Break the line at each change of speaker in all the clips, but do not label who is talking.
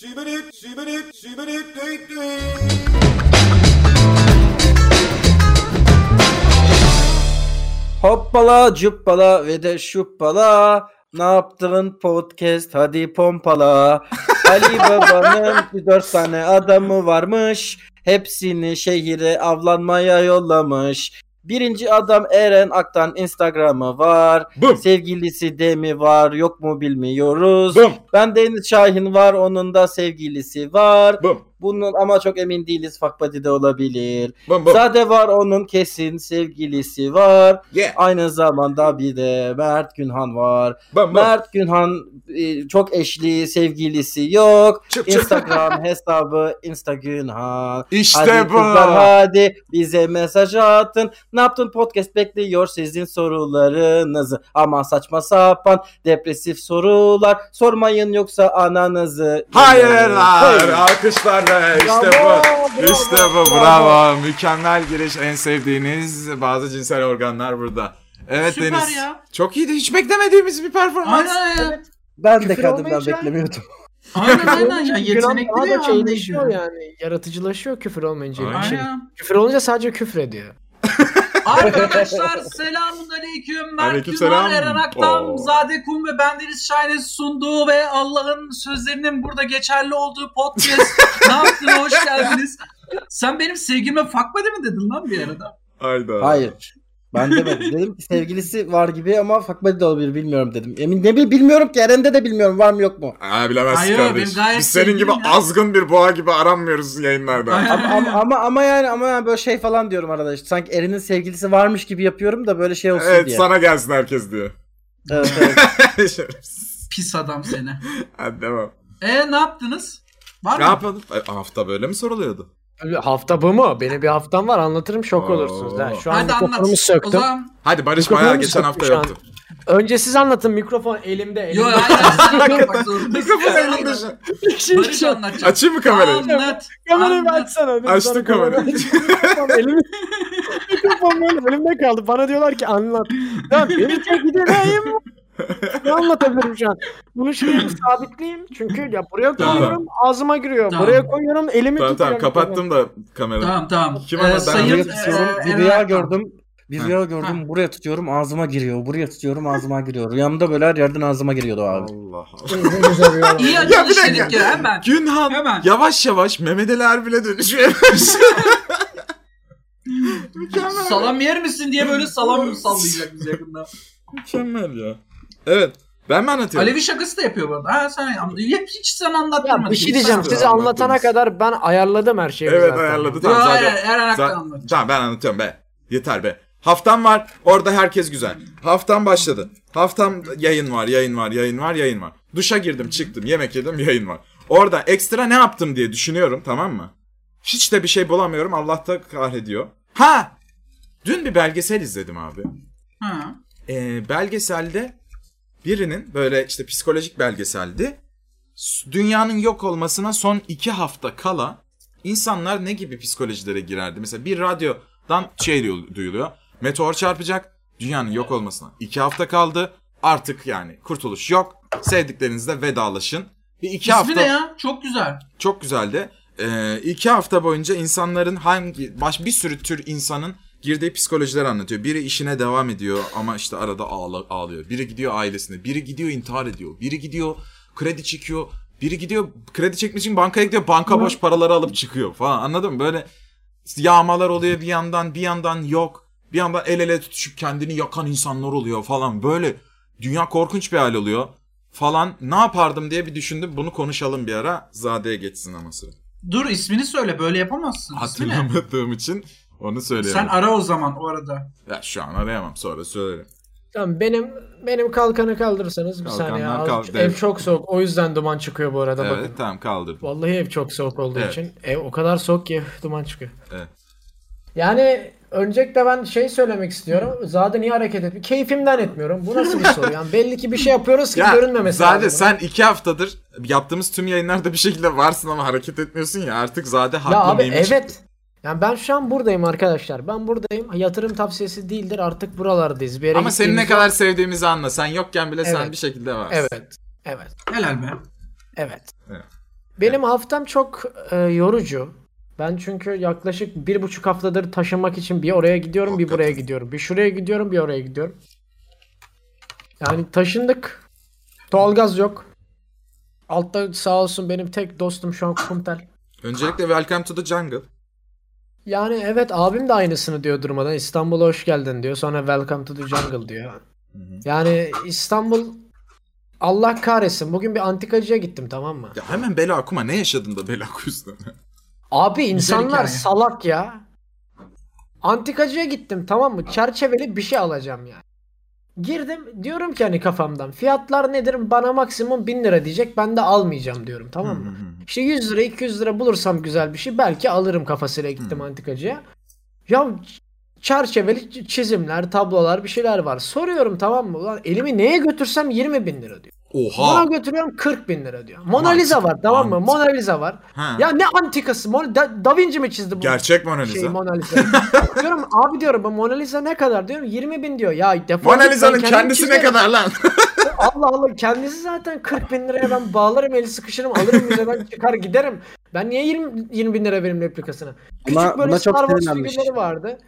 Sübülüp, sübülüp, sübülüp, düt düt.
Hoppala cuppala ve de şuppala. Ne yaptın podcast hadi pompala. Ali babanın dört tane adamı varmış. Hepsini şehire avlanmaya yollamış. Birinci adam Eren Aktan Instagram'ı var.
Bum.
Sevgilisi de mi var yok mu bilmiyoruz.
Bum.
Ben Deniz Şahin var onun da sevgilisi var.
Bum.
Bunun ama çok emin değiliz fakbadi de olabilir.
Bum bum.
Zade var onun kesin sevgilisi var.
Yeah.
Aynı zamanda bir de Mert Günhan var.
Bum bum.
Mert Günhan e, çok eşli sevgilisi yok.
Çıp çıp.
Instagram hesabı Insta Günhan.
İşte
Hadi
bu.
kızlar hadi bize mesaj atın. Ne yaptın podcast bekliyor sizin sorularınızı. Ama saçma sapan depresif sorular sormayın yoksa ananızı.
Hayırlar. Alkışlarla işte
Bravo,
bu.
bravo,
İşte bu. Bravo. Mükemmel giriş. En sevdiğiniz bazı cinsel organlar burada. Evet
Süper
Deniz.
ya.
Çok iyiydi. Hiç beklemediğimiz bir performans.
Aynen ya.
Ben de
Küfür
kadından
olmayınca-
beklemiyordum.
Aynen aynen ya.
Yunan
Yetenekli
daha
ya.
da şeyleşiyor
anlayışı.
yani. Yaratıcılaşıyor küfür olmayınca.
Aynen.
Şey,
Aynen.
küfür olunca sadece küfür ediyor.
Arkadaşlar selamun aleyküm. Ben
Aleyküm
Kübra
selam.
Eren Aktan,
Oo.
Zade Kum ve Bendeniz Şahin'in sunduğu ve Allah'ın sözlerinin burada geçerli olduğu podcast. ne yaptın? Hoş geldiniz. Sen benim sevgime fakmadı mı dedin lan bir arada?
Hayda.
Hayır. Ben demedim. dedim ki sevgilisi var gibi ama fakmedi de olabilir bilmiyorum dedim. Emin ne bil- bilmiyorum ki Eren'de de bilmiyorum var mı yok mu?
Aa, bilemezsin
Hayır,
kardeş.
benim gayet
Biz senin gibi
sevgilim ya.
azgın bir boğa gibi aranmıyoruz yayınlarda.
Aynen.
Ama ama, ama, ama yani ama yani böyle şey falan diyorum arada işte. Sanki Eren'in sevgilisi varmış gibi yapıyorum da böyle şey olsun
evet
diye.
sana gelsin herkes diyor.
Evet, evet.
Şerefsiz.
Pis adam seni.
Hadi devam.
E ne yaptınız? Var
Ne
mı?
yapalım? Ay, Hafta böyle mi soruluyordu?
Tabii Hafta bu mu? Benim bir haftam var anlatırım şok
Oo.
olursunuz. Ha. Şu an
Hadi anlat.
mikrofonumu
O
söktüm.
zaman
Hadi Barış
Mikrofonu
bayağı
mu
geçen hafta
sokmuş an?
yoktu.
Önce siz anlatın mikrofon elimde. elimde.
Yo hayır sen anlatmak zorundasın.
Mikrofon
Sen
elinde
anlat.
şu-
Şimdi
Barış
şu an-
anlatacak.
Açayım mı kamerayı?
Anlat.
Kamerayı bir
anlat.
açsana. Dur,
Açtım
sana kamera
kamerayı.
aç. Mikrofon elimde. Mikrofon böyle elimde kaldı. Bana diyorlar ki anlat. Lan beni çek gideyim. Ne anlatabilirim şu an? Bunu şuraya bir sabitleyeyim. Çünkü ya buraya
Tamam.
koyuyorum ağzıma giriyor.
Tamam.
Buraya koyuyorum elimi
Tamam tamam
tutuyorum.
kapattım da kamerayı.
Tamam tamam. Ee,
Kim ama ben-
buraya
sayın,
tutuyorum.
Ee,
e,
bir
Eren
rüya
Aktan.
gördüm. Bir
Ha.
rüya gördüm. Buraya tutuyorum ağzıma giriyor. Buraya tutuyorum ağzıma giriyor. Rüyamda böyle her yerden ağzıma giriyordu abi.
Allah Allah.
İyi
bir
açılış
dakika.
dedik ya hemen.
Günhan
Hemen.
yavaş yavaş memedeler bile dönüşüyor. Mükemmel.
Salam yer misin diye böyle salam sallayacak bize yakında.
Mükemmel ya. Evet. Ben mi anlatıyorum?
Alevi şakası da yapıyor bu arada. Ha sen anla- Hep hiç sen anlattırmadın.
Ya bir şey
Hiç
diyeceğim.
sen-
Siz
Size anlatana
anlattınız.
kadar ben ayarladım her şeyi
Evet
zaten.
ayarladı.
Yo
Tamam
hayır
zaten.
Eren Ak'tan
Sen-
anlat.
Tamam ben anlatıyorum be. Yeter be. Haftam var. Orada herkes güzel. Haftam başladı. Haftam yayın var, yayın var, yayın var, yayın var. Duşa girdim, çıktım, yemek yedim, yayın var. Orada ekstra ne yaptım diye düşünüyorum tamam mı? Hiç de bir şey bulamıyorum. Allah da kahrediyor. Ha! Dün bir belgesel izledim abi.
Ha.
Ee, belgeselde birinin böyle işte psikolojik belgeseldi. S- Dünyanın yok olmasına son iki hafta kala insanlar ne gibi psikolojilere girerdi? Mesela bir radyodan şey diyor- duyuluyor. Meteor çarpacak. Dünyanın yok olmasına iki hafta kaldı. Artık yani kurtuluş yok. Sevdiklerinizle vedalaşın. Bir iki
İsmi
hafta
ne ya? Çok güzel.
çok güzeldi. Ee, iki hafta boyunca insanların hangi baş bir sürü tür insanın girdiği psikolojileri anlatıyor. Biri işine devam ediyor ama işte arada ağla- ağlıyor. Biri gidiyor ailesine, biri gidiyor intihar ediyor, biri gidiyor kredi çekiyor, biri gidiyor kredi çekmek için bankaya gidiyor, banka boş paraları alıp çıkıyor falan. Anladın mı? Böyle yağmalar oluyor bir yandan, bir yandan yok. Bir yandan el ele tutuşup kendini yakan insanlar oluyor falan. Böyle dünya korkunç bir hal oluyor falan ne yapardım diye bir düşündüm. Bunu konuşalım bir ara. Zade'ye geçsin ama sıra.
Dur ismini söyle böyle yapamazsın. İsmi ne?
Hatırlamadığım için onu
Sen
söyleyemem.
ara o zaman o arada.
ya şu an arayamam sonra söylerim.
Tamam benim benim kalkanı kaldırırsanız bir
Kalkanlar
saniye.
kalk-
Azıcık-
evet.
Ev çok soğuk. O yüzden duman çıkıyor bu arada
Evet
bakın.
tamam kaldırdım.
Vallahi ev çok soğuk olduğu
Evet.
için. Ev o kadar soğuk ki duman çıkıyor.
Evet.
Yani öncelikle ben şey söylemek istiyorum. Zade niye hareket etmiyor? Keyfimden etmiyorum. Bu nasıl bir soru? Yani belli ki bir şey yapıyoruz ki
Ya
görünmemesi
Zade
lazım.
sen iki haftadır yaptığımız tüm yayınlarda bir şekilde varsın ama hareket etmiyorsun ya artık Zade haklı
Ya abi
mıymış?
evet. Yani ben şu an buradayım arkadaşlar. Ben buradayım. Yatırım tavsiyesi değildir. Artık buralardayız. Bir yere
Ama seni ne
gittiğimiz yok.
kadar sevdiğimizi anla. Sen yokken bile sen
Evet.
bir şekilde varsın.
Evet. Evet.
Helal be.
Evet.
Evet.
Benim haftam çok e, yorucu. Ben çünkü yaklaşık bir buçuk haftadır taşınmak için bir oraya gidiyorum, bir buraya
Hakikaten.
gidiyorum. Bir şuraya gidiyorum, bir oraya gidiyorum. Yani taşındık. Doğalgaz yok. Altta sağ olsun benim tek dostum şu an Kumtel.
Öncelikle Welcome to the Jungle.
Yani evet abim de aynısını diyor durmadan. İstanbul'a hoş geldin diyor. Sonra welcome to the jungle diyor. Yani İstanbul Allah kahretsin. Bugün bir antikacıya gittim tamam mı?
Ya hemen bela okuma. Ne yaşadın da bela okuyorsun?
Abi insanlar
hikaye.
salak ya. Antikacıya gittim tamam mı? Çerçeveli bir şey alacağım yani. Girdim diyorum ki hani kafamdan fiyatlar nedir? Bana maksimum 1000 lira diyecek. Ben de almayacağım diyorum tamam
Hmm.
mı? İşte 100 lira 200 lira bulursam güzel bir şey belki alırım kafasıyla gittim antikacıya. Ya ç- çerçeveli ç- çizimler, tablolar bir şeyler var. Soruyorum tamam mı? Ulan elimi neye götürsem 20 bin lira diyor. Buna
Oha.
götürüyorum 40 bin lira diyor. Mona Lisa
Mantıklı,
var tamam mı?
mantıklı.
Mona Lisa var.
Ha.
Ya ne antikası? Mona- da, da Vinci mi çizdi bu?
Gerçek Mona Lisa.
Şey, Mona Lisa. diyorum abi diyorum bu Mona Lisa ne kadar diyorum 20 bin diyor. Ya defol
Mona
git, ben
Lisa'nın
kendim
kendisi ne
çizerim.
kadar lan?
Allah Allah kendisi zaten 40 bin liraya ben bağlarım eli sıkışırım alırım müzeden çıkar giderim. Ben niye 20, 20 bin lira verim replikasına? Küçük
Buna-
böyle
buna çok
Star Wars
sinirlenmiş.
figürleri vardı.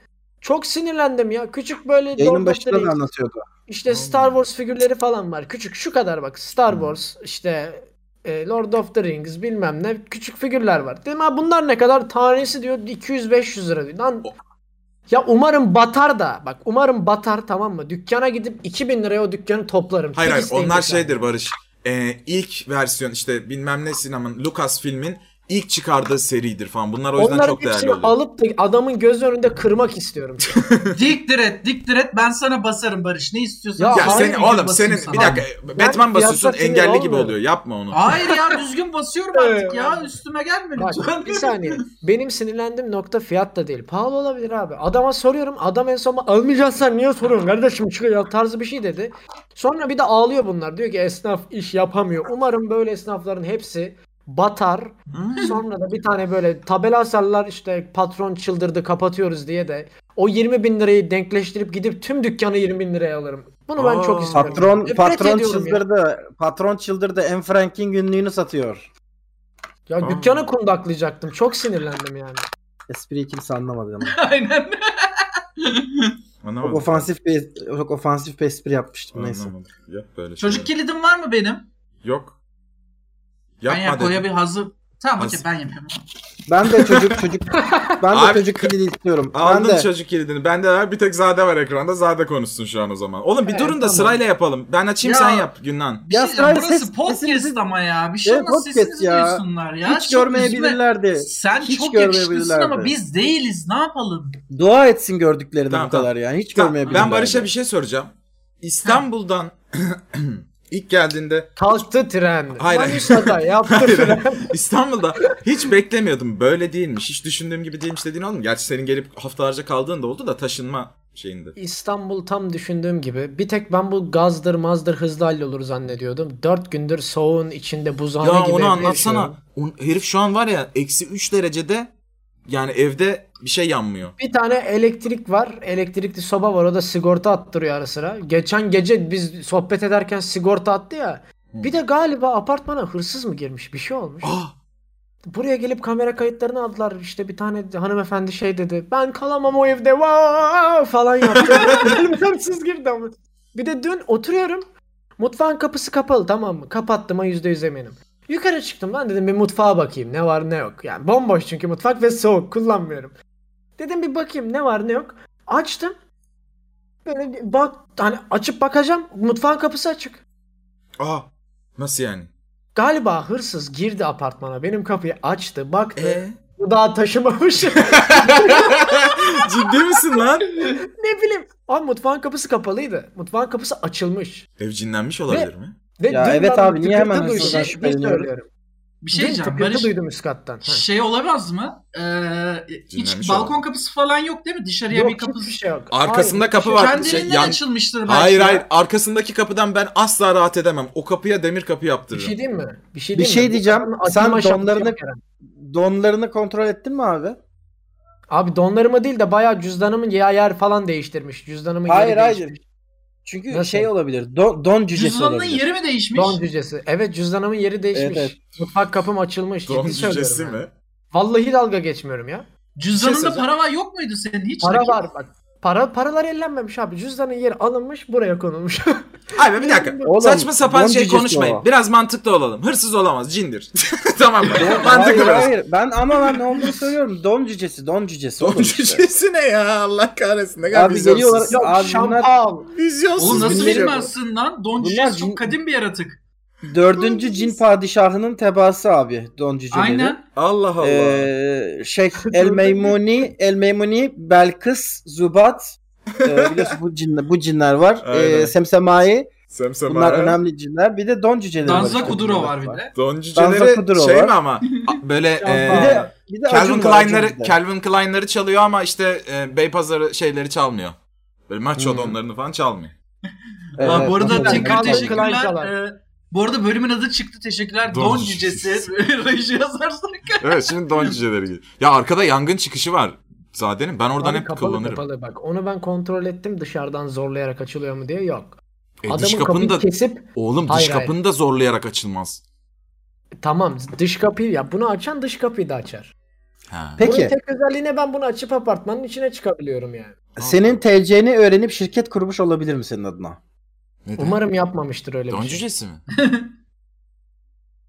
Çok sinirlendim ya. Küçük böyle
Yayının
Lord of the
başında da
Rings,
anlatıyordu.
işte Star Wars figürleri falan var. Küçük şu kadar bak Star Wars işte e, Lord of the Rings bilmem ne küçük figürler var. Dedim ha bunlar ne kadar tanesi diyor 200-500 lira diyor. Lan
O-
ya umarım batar da bak umarım batar tamam mı? Dükkana gidip 2000 liraya o dükkanı toplarım.
Hayır
Tek
hayır
isteğim
onlar
bu yani.
şeydir Barış. Ee, ilk versiyon işte bilmem ne sinemanın Lucas filmin ilk çıkardığı seridir falan. Bunlar o yüzden
Onların
çok değerli
hepsini
oluyor.
alıp da adamın göz önünde kırmak istiyorum.
Diktir et, diktir et. Ben sana basarım Barış. Ne istiyorsan.
Ya
ya
Hayır,
senin
düzgün
oğlum
basayım
senin
sana.
bir dakika Batman
fiyatla
basıyorsun
sinir
engelli gibi
olmuyorum.
oluyor. Yapma onu.
Hayır ya düzgün basıyorum artık ya. Üstüme gelme lütfen.
Bak bir saniye. Benim sinirlendiğim nokta fiyat da değil. Pahalı olabilir abi. Adama soruyorum. Adam en son bana, almayacaksın sen niye soruyorsun kardeşim çıkıyor ya tarzı bir şey dedi. Sonra bir de ağlıyor bunlar. Diyor ki esnaf iş yapamıyor. Umarım böyle esnafların hepsi batar. Sonra da bir tane böyle tabela asarlar işte patron çıldırdı kapatıyoruz diye de o 20 bin lirayı denkleştirip gidip tüm dükkanı 20 bin liraya alırım. Bunu ben
Aa.
çok istiyorum.
Patron
Nefret
patron
ediyorum ya.
çıldırdı. Patron çıldırdı. En Frank'in günlüğünü satıyor.
Ya
Aa.
dükkanı kundaklayacaktım. Çok sinirlendim yani.
Espriyi kimse anlamadı ama.
Aynen.
Çok
Anlamadım.
ofansif bir çok ofansif bir espri yapmıştım neyse.
Anlamadım. Yap böyle
Çocuk
şeyler.
kilidim var mı benim?
Yok.
ben yap
Yapma
koya
dedim.
bir hazır. Tamam
Hazır.
okey ben yapıyorum.
Ben de çocuk çocuk ben de
Abi,
çocuk kilidi istiyorum. Ben
Aldın
de
çocuk kilidini. Bende var bir tek Zade var ekranda. Zade konuşsun şu an o zaman. Oğlum bir
Evet,
durun da
tamam.
sırayla yapalım. Ben açayım
Ya.
sen yap Günlan.
Bir
Ya
şey diyeceğim,
sırayla
burası
ses-
podcast
sesinizi-
ama ya. Bir şey
Evet,
olmaz
podcast
sesinizi
ya.
duysunlar ya.
hiç
Çok üzme.
görmeyebilirlerdi.
Sen
Hiç
çok yakışıklısın ama
görmeyebilirlerdi.
biz değiliz. Ne yapalım?
Dua etsin gördüklerine
Tamam,
bu kadar yani. Hiç
Tamam,
görmeyebilirlerdi.
ben Barış'a bir şey soracağım. İstanbul'dan ilk geldiğinde
Kalktı tren.
Hayır, hayır.
Manisa'da yaptı tren.
İstanbul'da hiç beklemiyordum. Böyle değilmiş. Hiç düşündüğüm gibi değilmiş dediğin oğlum. Gerçi senin gelip haftalarca kaldığın da oldu da taşınma şeyinde.
İstanbul tam düşündüğüm gibi. Bir tek ben bu gazdır mazdır hızlı hallolur zannediyordum. Dört gündür soğuğun içinde buzhane
Ya
gibi
onu
evde
anlatsana.
yaşıyorum.
On- herif şu an var ya eksi 3 derecede yani evde bir şey yanmıyor.
Bir tane elektrik var. Elektrikli soba var. O da sigorta attırıyor ara sıra. Geçen gece biz sohbet ederken sigorta attı ya. Bir de galiba apartmana hırsız mı girmiş? Bir şey olmuş.
Ah!
Buraya gelip kamera kayıtlarını aldılar. İşte bir tane hanımefendi şey dedi. Ben kalamam o evde. Vaa! falan yaptı. Hırsız girdi ama. Bir de dün oturuyorum. Mutfağın kapısı kapalı tamam mı? Kapattım ha yüzde yüz eminim. Yukarı çıktım ben dedim bir mutfağa bakayım ne var ne yok. Yani bomboş çünkü mutfak ve soğuk kullanmıyorum. Dedim bir bakayım ne var ne yok. Açtım. Böyle bir bak hani açıp bakacağım mutfağın kapısı açık.
Ah! Nasıl yani?
Galiba hırsız girdi apartmana benim kapıyı açtı baktı.
E?
Bu daha taşımamış.
Ciddi misin lan?
ne bileyim. Abi mutfağın kapısı kapalıydı. Mutfağın kapısı açılmış.
Ev cinlenmiş olabilir mi?
Ve
Ya
dün
evet
ben
abi, niye
tıkırtı
hemen
duydum.
hırsızdan
Ciddi
şüpheleniyorum?
söylüyorum.
Bir şey
Dün
diyeceğim.
tıkırtı
Barış
duydum üst kattan. Ha.
şey olamaz mı? Ee,
Dinlenmiş
hiç balkon
olalım.
kapısı falan yok değil mi? Dışarıya
Yok
bir kapı.
hiçbir şey yok.
Arkasında
Hayır,
kapı
hiçbir
var.
şey-
Şey,
Kendiliğinden
yan-
açılmıştır belki.
Hayır
ya.
hayır arkasındaki kapıdan ben asla rahat edemem. O kapıya demir kapı
Bir
yaptırırım.
şey diyeyim mi? Bir şey
Bir
diyeyim
şey
mi?
diyeceğim.
Açılma
Sen
aşaması yok
donlarını-
Kerem.
Donlarını kontrol ettin mi abi?
Abi donlarımı değil de bayağı cüzdanımın ya- yer falan değiştirmiş. Cüzdanımın yeri
Hayır hayır.
değişmiş.
Çünkü
Nasıl?
şey olabilir. Don, don cücesi
Cüzdanının
şey olabilir.
yeri mi değişmiş?
Don cücesi. Evet cüzdanımın yeri değişmiş.
Evet,
Mutfak kapım açılmış.
Don
Ciddi şey söylüyorum
cücesi
yani.
mi?
Vallahi dalga geçmiyorum ya.
Bir şey
Cüzdanında
söyleyeceğim.
para var yok muydu senin hiç?
Para
Nakit-
var bak. Para paralar ellenmemiş abi. Cüzdanın yeri alınmış buraya konulmuş.
Abi bir dakika.
Oğlum,
Saçma sapan
don
şey
cücesi
konuşmayın.
o.
Biraz mantıklı olalım. Hırsız olamaz. Cindir. tamam mı?
hayır,
mantıklı biraz.
hayır. Ben ama ben ne olduğunu söylüyorum. Don cücesi, don cücesi.
Don
olur işte.
cücesi ne ya? Allah kahretsin. Ne kadar
Abi
vizyonsuz.
geliyorlar-
Yok
Abi bunlar-
şampal.
Vizyonsuz
Oğlum nasıl
bir şey bu.
bilmezsin lan? Don
Bunlar
cücesi
cin-
çok kadim bir yaratık.
Dördüncü cin padişahının tebaası abi don cüceleri.
Aynen.
Allah Allah.
Ee, şey El Meymuni, El Meymuni, Belkıs, Zubat. Ee, biliyorsun bu cinler, bu cinler var.
Aynen.
Ee, Semsemai.
Semsem
Bunlar
Ağa.
önemli cinler. Bir de don cüceleri var.
Danza
işte.
Kuduro var bir de.
Don
Danza
cüceleri
Kuduro
şey
var.
mi ama A- böyle
Bir
e,
de, bir de
Calvin
Acun var, Acun
Klein'ları
bir de.
Calvin Klein'ları çalıyor ama işte e, Beypazarı şeyleri çalmıyor. Böyle maço
Hmm.
donlarını falan çalmıyor.
Evet,
Aa, bu arada
Acun
Don-
tekrar
Don-
Klein'leri.
Don-
teşekkürler.
Don-
Ee, bu arada bölümün adı çıktı. Teşekkürler.
Don
Don,
cücesi.
cücesi. Reji yazarsak.
Evet şimdi don cüceleri geliyor. Ya arkada yangın çıkışı var. Zade'nin ben oradan
Abi
hep
kapalı,
kullanırım.
kapalı bak. Onu ben kontrol ettim dışarıdan zorlayarak açılıyor mu diye yok.
E, dış
Adamın
kapını
kapıyı
da
kesip
oğlum dış
Hayır, hayır.
kapını da zorlayarak açılmaz.
tamam dış kapıyı ya bunu açan dış kapıyı da açar.
Ha.
Peki.
Bunun tek özelliğine ben bunu açıp apartmanın içine çıkabiliyorum yani.
Senin TC'ni öğrenip şirket kurmuş olabilir mi senin adına?
Neden?
Umarım yapmamıştır öyle
Don
bir şey.
cücesi mi?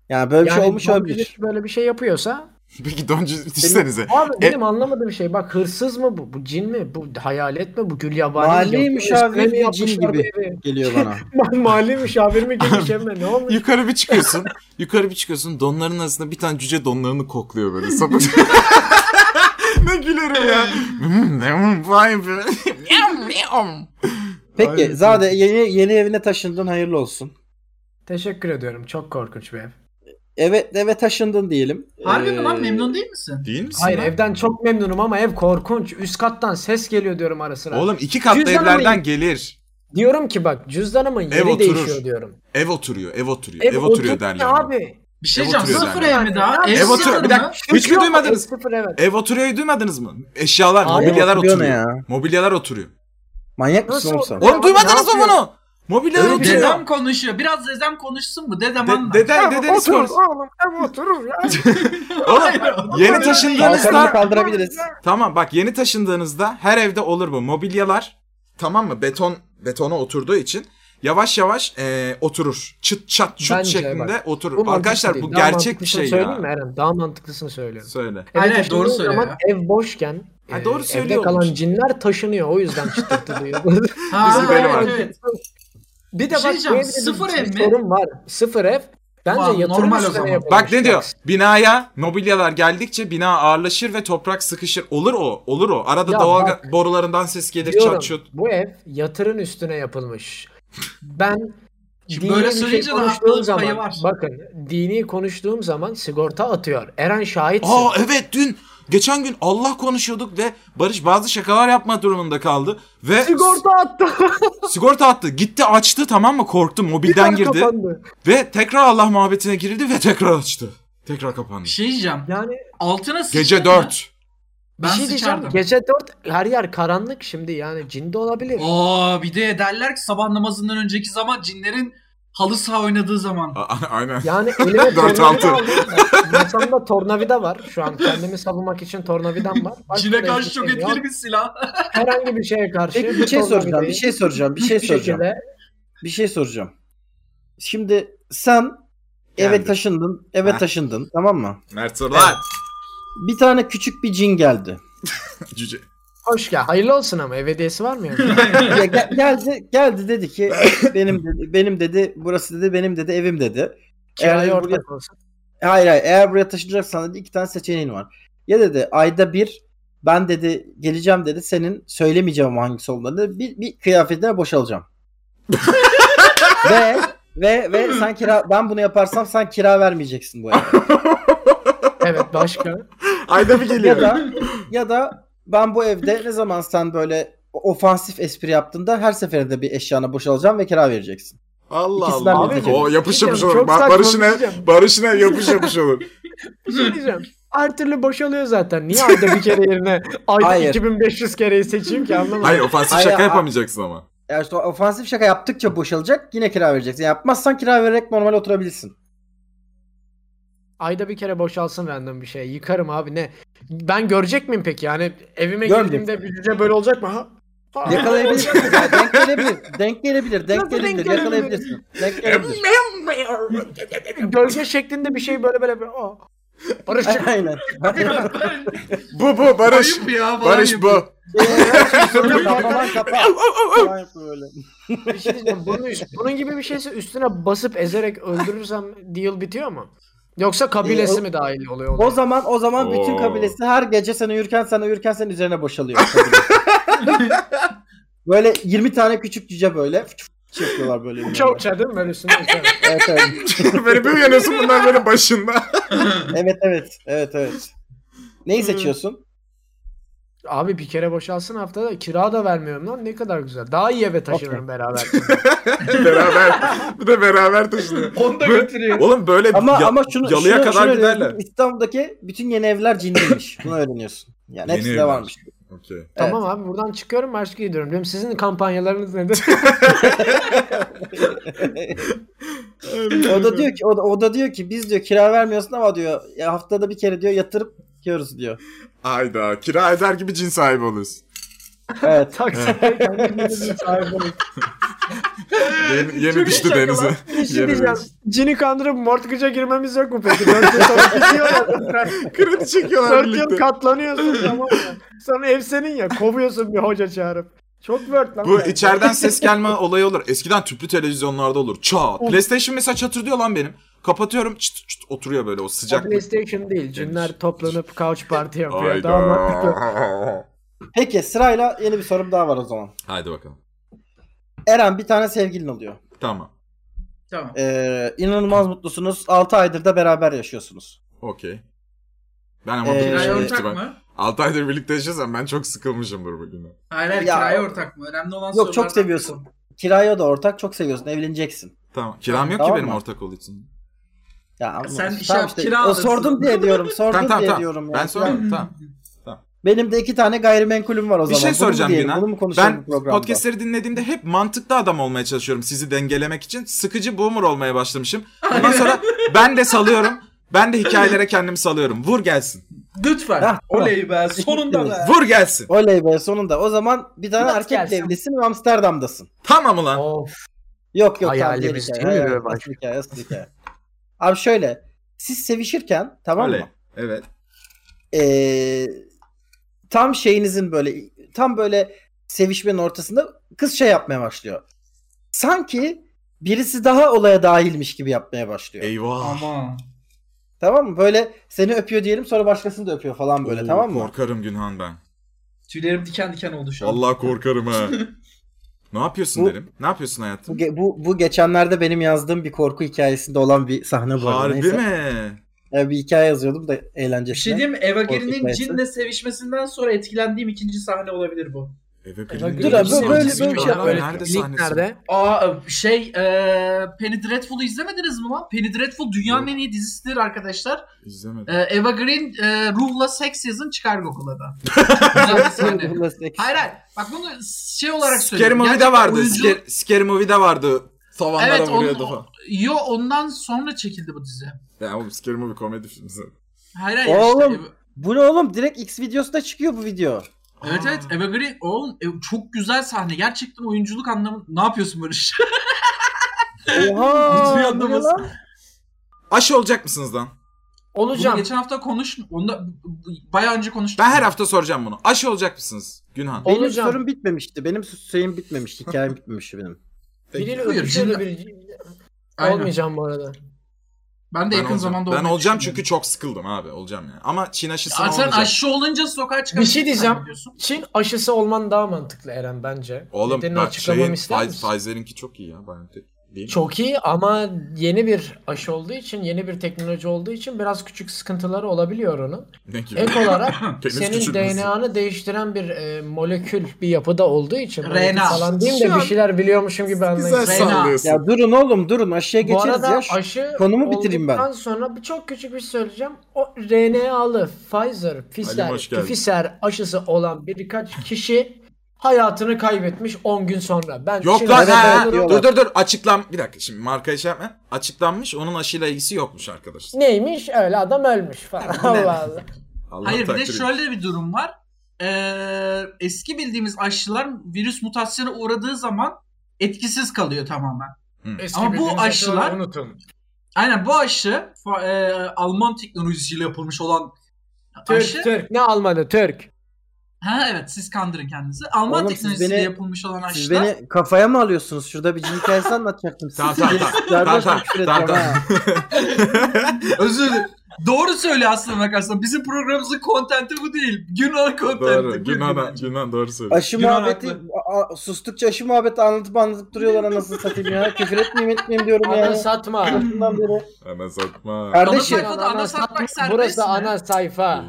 Yani böyle bir şey olmuş
Don
olabilir.
Cücesi böyle bir şey yapıyorsa
Peki don cücesi düşünsenize.
abi
E-
benim anlamadığım şey bak hırsız mı bu? Bu cin mi? Bu hayalet mi? Bu gül yabani mi?
Mali
Yapıyor,
müşavir
üstüne mi
bir cin
yapmışlar
gibi.
bu evi?
Geliyor bana.
Mali müşavir mi gibi mi? Ne olmuş?
Yukarı bir çıkıyorsun. yukarı bir çıkıyorsun. Donların arasında bir tane cüce donlarını kokluyor böyle. Sapık. ne gülerim ya. Hmm, ne hmm, vay be.
Peki
Aynen.
Zade yeni, yeni evine taşındın hayırlı olsun.
Teşekkür ediyorum. Çok korkunç bir ev.
Eve, eve taşındın diyelim.
Harbi
Ee,
mi lan? Memnun değil misin?
Değil misin?
Hayır
lan?
evden çok memnunum ama ev korkunç. Üst kattan ses geliyor diyorum ara sıra.
Oğlum iki katlı
Cüzdanı
evlerden
mı-
gelir.
Diyorum ki bak cüzdanımın yeri
Ev oturur.
değişiyor diyorum.
Ev oturuyor, ev oturuyor, ev,
Ev,
oturuyor
oturdu
derler.
ya Abi.
Bir şey
Ev
diyeceğim.
oturuyor
Sıfır
zaten.
ev mi daha?
Ev
Ev
oturuyor.
sıfır
Bir
mı?
dakika. Hiç mi
Yok,
duymadınız?
ev Sıfır evet.
Ev oturuyoryu duymadınız mı? Eşyalar,
Abi,
mobilyalar
oturuyor
oturuyor.
ne ya?
Mobilyalar oturuyor.
Manyak mısın
Nasıl
oğlum
oldu?
sen?
Oğlum
abi,
duymadınız
ne
mı bunu? Mobilyalar
Öyle bir
oturuyor.
şey
De,
yok.
Dedem konuşuyor. Biraz dedem konuşsun mu? Dedem anlar.
deden,
Ev
dedeniz
oturur
konuş.
oğlum ev oturur ya.
Oğlum yeni taşındığınızda
Kalkanını kaldırabiliriz.
Tamam bak yeni taşındığınızda her evde olur bu. Mobilyalar tamam mı? Beton betona oturduğu için yavaş yavaş eee, oturur. Çıt çat çut
Bence
şeklinde
bak,
oturur.
mantıklı
Arkadaşlar
değil.
bu
Daha
gerçek bir şey
mantıklısını
ya.
Söyleyeyim mi Eren? Daha mantıklısını söylüyorum.
Söyle.
Eve
Aynen, doğru
taşındığın
söylüyor
zaman
ya.
Ev boşken
Ha,
e,
doğru
evde
söylüyormuş.
kalan cinler taşınıyor. O yüzden çıtırtı duyuyoruz.
Ha,
Bizim benim
evet,
abi.
evet.
Bir de
Bir şey
bak
diyeceğim,
bu evde bir
sıfır ev mi?
sorun var. Sıfır ev. Bence
Ulan,
yatırım
normal o
üstüne
zaman.
yapılmış.
Bak ne diyor? Binaya mobilyalar geldikçe bina ağırlaşır ve toprak sıkışır. Olur o, olur o. Arada
Ya
doğal
bak,
borularından ses gelir
Diyorum,
çat çut.
bu ev yatırın üstüne yapılmış. Ben
Şimdi
dini
böyle
bir şey
söyleyince de
konuştuğum
haklılık
zaman,
payı var.
bakın dini konuştuğum zaman sigorta atıyor. Eren şahitsin.
Aa evet dün geçen gün Allah konuşuyorduk ve Barış bazı şakalar yapma durumunda kaldı ve
sigorta attı.
sigorta attı. Gitti açtı tamam mı? Korktu mobilden girdi.
Kapandı.
Ve tekrar Allah muhabbetine girildi ve tekrar açtı. Tekrar kapandı.
Bir şey diyeceğim.
Yani
Altına sıçtın
Gece
mı?
4.
bir
Ben
şey diyeceğim.
sıçardım.
Gece 4 her yer karanlık şimdi yani cin de olabilir.
Aa bir de derler ki sabah namazından önceki zaman cinlerin halı saha oynadığı zaman.
Aynen.
Yani elime
Dört altı.
tornavida aldım. Bak, Masamda tornavida var. Şu an kendimi savunmak için tornavidam var. Başka da
Cine karşı
hiçbir
çok
şey yok.
etkili bir silah.
Herhangi bir şeye karşı.
Peki bir
bu
şey soracağım, bir
tornavidayı
şey soracağım, bir şey
hiçbir
soracağım.
şekilde
Bir şey soracağım. Şimdi sen eve
Geldi.
taşındın, eve
Heh.
taşındın tamam mı?
Mert Sırlar.
Bir tane küçük bir cin geldi.
Cüce.
Hoş gel. Hayırlı olsun ama ev hediyesi var mı yani?
Ya gel- geldi, geldi dedi ki benim dedi, benim dedi, burası dedi, benim dedi, evim dedi. Eğer
Kiraya
dedi, buraya,
ortak olsun.
E, hayır hayır, eğer buraya taşınacaksan dedi iki tane seçeneğin var. Ya dedi ayda bir ben dedi geleceğim dedi senin söylemeyeceğim hangisi olduğunu dedi. Bir, bir kıyafetine boşalacağım. ve ve ve sen kira ben bunu yaparsam sen kira vermeyeceksin bu eve.
Evet başka.
Ayda bir
Ya da ya da ben bu evde ne zaman sen böyle ofansif espri yaptığında her seferinde bir eşyana boşalacağım ve kira vereceksin.
Allah
İkisinden
Allah.
biri.
O yapış yapış
Çok
olur. Ba-
saçma
Barış'ın
bir şey
ev,
diyeceğim.
Barış'ın ev yapış yapış olur.
Bir şey diyeceğim. Her türlü boşalıyor zaten. Niye ayda bir kere yerine ayda
Hayır.
2500 kereyi seçeyim ki anlamadım.
Hayır ofansif
Hayır,
şaka
a-
yapamayacaksın ama.
Eğer işte ofansif şaka yaptıkça boşalacak yine kira vereceksin. Yapmazsan kira vererek normal oturabilirsin.
Ayda bir kere boşalsın random bir şey. Yıkarım abi ne? Ben görecek miyim peki? Yani evime
Görmeyeceksin.
girdiğimde bir cüce böyle olacak mı? Ha? Ha.
Yakalayabilirsin. ya, denk gelebilir. Denk gelebilir. Denk
Nasıl denk
gelebilir.
gelebilir?
Yakalayabilirsin. Denk gelebilir.
Gölge şeklinde bir şey böyle böyle. böyle. Aa. Barış
Aynen. Şey,
Bu bu Barış.
Ayıp ya falan
Barış
yapıyor.
bu.
şey, Kapaman kapa. Falan yapıyor böyle.
bir şey diyeceğim. Bunun, üst- bunun gibi bir şeyse üstüne basıp ezerek öldürürsem deal bitiyor mu? Yoksa kabilesi
Ee, o-
mi dahil oluyor?
O zaman o zaman bütün
Oo.
kabilesi her gece sen uyurken sen uyurken senin üzerine boşalıyor. böyle 20 tane küçük cüce böyle şey yapıyorlar böyle.
Uça
birbirine.
uça değil mi? Böyle üstüne uça.
Evet evet.
böyle bir uyanıyorsun bunlar böyle başında.
Evet evet. Evet evet. Neyi seçiyorsun?
Hmm.
Abi bir kere boşalsın haftada kira da vermiyorum lan ne kadar güzel. Daha iyi eve taşınırım beraber.
beraber. Bir de beraber taşınıyor.
Onu da
Böyle-
götürüyor.
Oğlum böyle
Ama
ya-
ama şunu
yalıya
şunu-
kadar
şunu
giderler.
öğrendim. İstanbul'daki bütün yeni evler cinliymiş. Bunu öğreniyorsun. Yani
Yeni
hepsi de
evler.
varmış.
Okey.
Tamam abi buradan çıkıyorum başka gidiyorum. Benim sizin kampanyalarınız nedir?
o da diyor ki o da, o da diyor ki biz diyor kira vermiyorsun ama diyor ya haftada bir kere diyor yatırıp yiyoruz diyor.
Hayda. Kira eder gibi cin sahibi oluyorsun.
Evet.
Taksiler kendinizin sahibi olun.
Yeni, yeni
Çok
düştü
iyi şaka
denize.
lan. Bir şey
Yeni
diyeceğim.
denize.
Cini kandırıp mortgage'a girmemiz yok mu peki? Dört yıl sonra gidiyorlar.
Kredi çekiyorlar
Dört yıl
birlikte.
katlanıyorsun tamam mı? Sonra ev senin ya kovuyorsun bir hoca çağırıp. Çok word lan.
Bu
bence.
içeriden ses gelme olayı olur. Eskiden tüplü televizyonlarda olur. Çat. PlayStation mesela çatırdıyor lan benim. Kapatıyorum çıt çıt oturuyor böyle o
O
sıcak.
PlayStation değil. Cinler toplanıp couch party yapıyor. Daha mantıklı.
Hayda.
Peki sırayla yeni bir sorum daha var o zaman.
Haydi bakalım.
Eren bir tane sevgilin oluyor.
Tamam.
Tamam.
Ee, inanılmaz mutlusunuz. 6 aydır da beraber yaşıyorsunuz. Okey.
Ben ama
Ee,
ee,
Kiraya
Şey,
ortak mı?
6 aydır birlikte yaşıyorsam ben çok sıkılmışımdır bugüne.
Hayır hayır
Ya-
kiraya ortak mı? Önemli olan
Yok, çok
sorulardan
seviyorsun.
biri
Kiraya da ortak çok seviyorsun. Evleneceksin.
Tamam. Kiram yok
Tamam
ki benim
mı?
ortak olduğu için.
Ya ama-
Sen iş
tamam
yap, kira
o
alırsın.
sordum diye diyorum. Sordum
Tamam
diye
tamam
diyorum.
tamam.
ya.
Ben sorarım tamam.
Benim de iki tane gayrimenkulüm var o
Bir
zaman.
şey
Bunu mu
soracağım
diyelim,
Binan.
Bunu mu konuşalım
Ben
bu programda?
podcastleri dinlediğimde hep mantıklı adam olmaya çalışıyorum sizi dengelemek için. Sıkıcı boomer olmaya başlamışım. Ondan sonra ben de salıyorum. Ben de hikayelere kendimi salıyorum. Vur gelsin.
bu.
Hah,
Lütfen.
tamam.
Oley be sonunda be.
Vur gelsin.
Oley be sonunda. O zaman bir tane
Nasıl
erkekle
gelsin?
evlisin ve Amsterdam'dasın.
Tamam ulan.
Of.
Yok yok. tamam,
Hayalimiz
diğer
değil mi
hayır,
böyle
asıl
başka?
hikaye, asıl hikaye. Abi şöyle. Siz sevişirken tamam
Oley.
mı?
Evet.
Ee, tam şeyinizin böyle tam böyle sevişmenin ortasında kız şey yapmaya başlıyor. Sanki birisi daha olaya dahilmiş gibi yapmaya başlıyor.
Eyvah.
Ama.
Tamam mı? Böyle seni öpüyor diyelim sonra başkasını da öpüyor falan böyle
Oo,
tamam mı?
Korkarım Günhan ben.
Tüylerim diken diken oldu şu an.
Vallahi korkarım ha. ne yapıyorsun
Bu-
derim. Ne yapıyorsun hayatım?
Bu, ge- bu, bu geçenlerde benim yazdığım bir korku hikayesinde olan bir sahne bu arada.
Harbi
Neyse.
mi?
Ya bir hikaye yazıyordum da eğlencesine.
Bir şey diyeyim mi? Eva
Korkak
Gerin'in
neyse.
cinle sevişmesinden sonra etkilendiğim ikinci sahne olabilir bu.
Eve
Dur
Dur abi, böyle- böyle
Sahnesi
bir şey
var.
yap, böyle.
Nerede
Link
sahnesi?
nerede?
Aa şey eee Penny Dreadful'u izlemediniz mi lan? Penny Dreadful dünyanın
Yok.
en iyi dizisidir arkadaşlar.
İzlemedim.
Eee, Eva Green eee, ruhla seks yazın çıkar Google'a da. Güzel bir sahne. Hayır hayır. Bak bunu şey olarak
Scary
söylüyorum.
Movie'de
Gerçekten
vardı.
oyuncu-
Scary, Scary Movie'de vardı. Tavanlara
Evet, onun-
vuruyordu falan.
Yo ondan sonra çekildi bu dizi.
Ya oğlum Scary Movie komedi filmi. zaten.
Hayır hayır. işte
Oğlum.
Eva-
Bu ne oğlum? Direkt X videosunda çıkıyor bu video.
Evet
Aa.
evet Eva Green oğlum e, çok güzel sahne. Gerçekten oyunculuk anlamı ne yapıyorsun şey? Barış?
Oha!
Hiçbir
bu ne
anlamaz.
lan?
Aşı olacak mısınız lan?
Bunu
Olacağım.
geçen hafta konuş onda bayağı önce konuştuk.
Ben her hafta soracağım bunu. Aşı olacak mısınız Günhan?
O-
Benim
Olacağım.
sorum bitmemişti. Benim şeyim bitmemişti. Hikayem bitmemişti benim.
Biriyle
Buyur,
öpüşüyor da
şimdi-
bir... şey
Aynen.
Olmayacağım bu arada.
Ben de
Ben
yakın
olacağım.
zamanda
Ben
olmayı
olacağım çünkü
düşünüyorum.
çok sıkıldım abi. Olacağım yani. Ama Çin aşısına
Aa, sen
olmayacak.
aşı olunca sokağa çıkabilirsin.
Bir şey diyeceğim.
sen biliyorsun.
Çin aşısı olman daha mantıklı Eren bence.
Oğlum
Nedenini
bak
açıklamamı
şeyin,
ister
Faiz-
misin?
Pfizer'inki çok iyi ya. BioNTech değil mi?
Çok iyi ama yeni bir aşı olduğu için, yeni bir teknoloji olduğu için biraz küçük sıkıntıları olabiliyor onun.
Ne gibi?
Ek olarak
Penis
senin
küçültmesi.
DNA'nı değiştiren bir e, molekül bir yapıda olduğu için
RNA.
molekül falan diyeyim
Şu
de
an
bir şeyler biliyormuşum gibi
Güzel
anlayın.
Reyna.
sallıyorsun.
Ya durun oğlum durun aşağıya
Bu
geçeriz
arada
ya. Şu-
aşı
konumu bitireyim ben.
olduktan sonra bir çok küçük bir şey söyleyeceğim. O RNA'lı Pfizer, Pfizer,
hoş geldin.
Pfizer aşısı olan birkaç kişi hayatını kaybetmiş 10 gün sonra. Ben
Yok
şimdi-
lan
Evet,
ha,
evet,
ha.
diyorlar.
dur dur dur açıklan bir dakika şimdi markayı şey yapma. Açıklanmış onun aşıyla ilgisi yokmuş arkadaşlar.
Neymiş öyle adam ölmüş falan. Allah Allah.
Allah
Hayır bir de
takdir ediyor.
şöyle bir durum var. Ee, eski bildiğimiz aşılar virüs mutasyona uğradığı zaman etkisiz kalıyor tamamen.
Eski
Ama bu
bildiğiniz aşıları
aşılar-
unutun.
Aynen bu aşı fa- e, Alman teknolojisiyle yapılmış olan aşı.
Türk Türk ne Almanı Türk.
Ha evet siz kandırın kendinizi. Alman
Oğlum, siz
teknolojisiyle
beni-
yapılmış olan
Siz
aşılar.
beni kafaya mı alıyorsunuz? Şurada bir cin hikayesi anlatacaktım.
Tamam tamam
Siz-
tamam.
Yardım
tamam tamam.
küfür
tamam,
edeceğim ha.
tamam.
Özür dilerim. Doğru söylüyor aslında bakarsan. Bizim programımızın kontenti bu değil. Günah kontenti.
Doğru.
Buyurun
Günhan,
bence.
Günhan doğru söylüyor.
Aşı
Yunan
muhabbeti
haklı.
a- a- sustukça aşı muhabbeti anlatıp anlatıp duruyorlar anasını satayım ya. Küfür etmeyeyim etmeyeyim diyorum
Ana
ya.
satma.
Bundan beri.
Ana satma.
Ana
Kardeşim
sayfada ana satmak serbest
Burası
mi?
ana sayfa.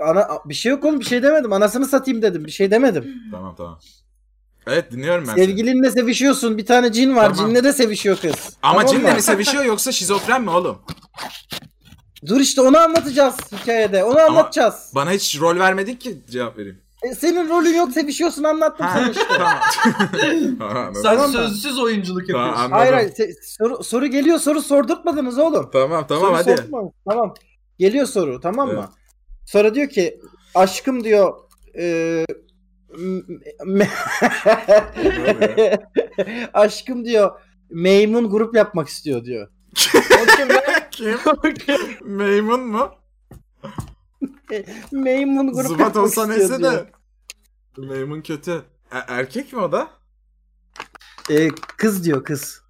ana bir şey yok oğlum bir şey demedim. Anasını satayım dedim. Bir şey demedim.
Tamam tamam. Evet dinliyorum ben seni.
Sevgilinle sevişiyorsun. Bir tane cin var.
Tamam.
Cinle de sevişiyor kız.
Ama
Tamam
cinle
mı?
mi sevişiyor şey yoksa şizofren mi oğlum?
Dur işte onu anlatacağız hikayede. Onu anlatacağız.
Bana hiç rol vermedik ki cevap vereyim.
E, senin rolün yok sevişiyorsun anlattım
Ha,
sana işte.
tamam. Tamam,
Sen
tamam.
sözsüz oyunculuk
Tamam,
yapıyorsun.
anladım.
Hayır hayır se- soru, soru geliyor soru sordurtmadınız oğlum.
Tamam tamam
Soru
hadi.
sordurtmadınız, Tamam. Geliyor soru tamam mı?
Evet.
Sonra diyor ki aşkım diyor e, m- me- aşkım diyor Meymun grup yapmak istiyor diyor.
Kim? Meymun mu?
Meymun grup
Zıbat
yapmak
olsa
istiyor
neyse
diyor.
de. Meymun kötü. E, erkek mi o da?
E, kız diyor kız.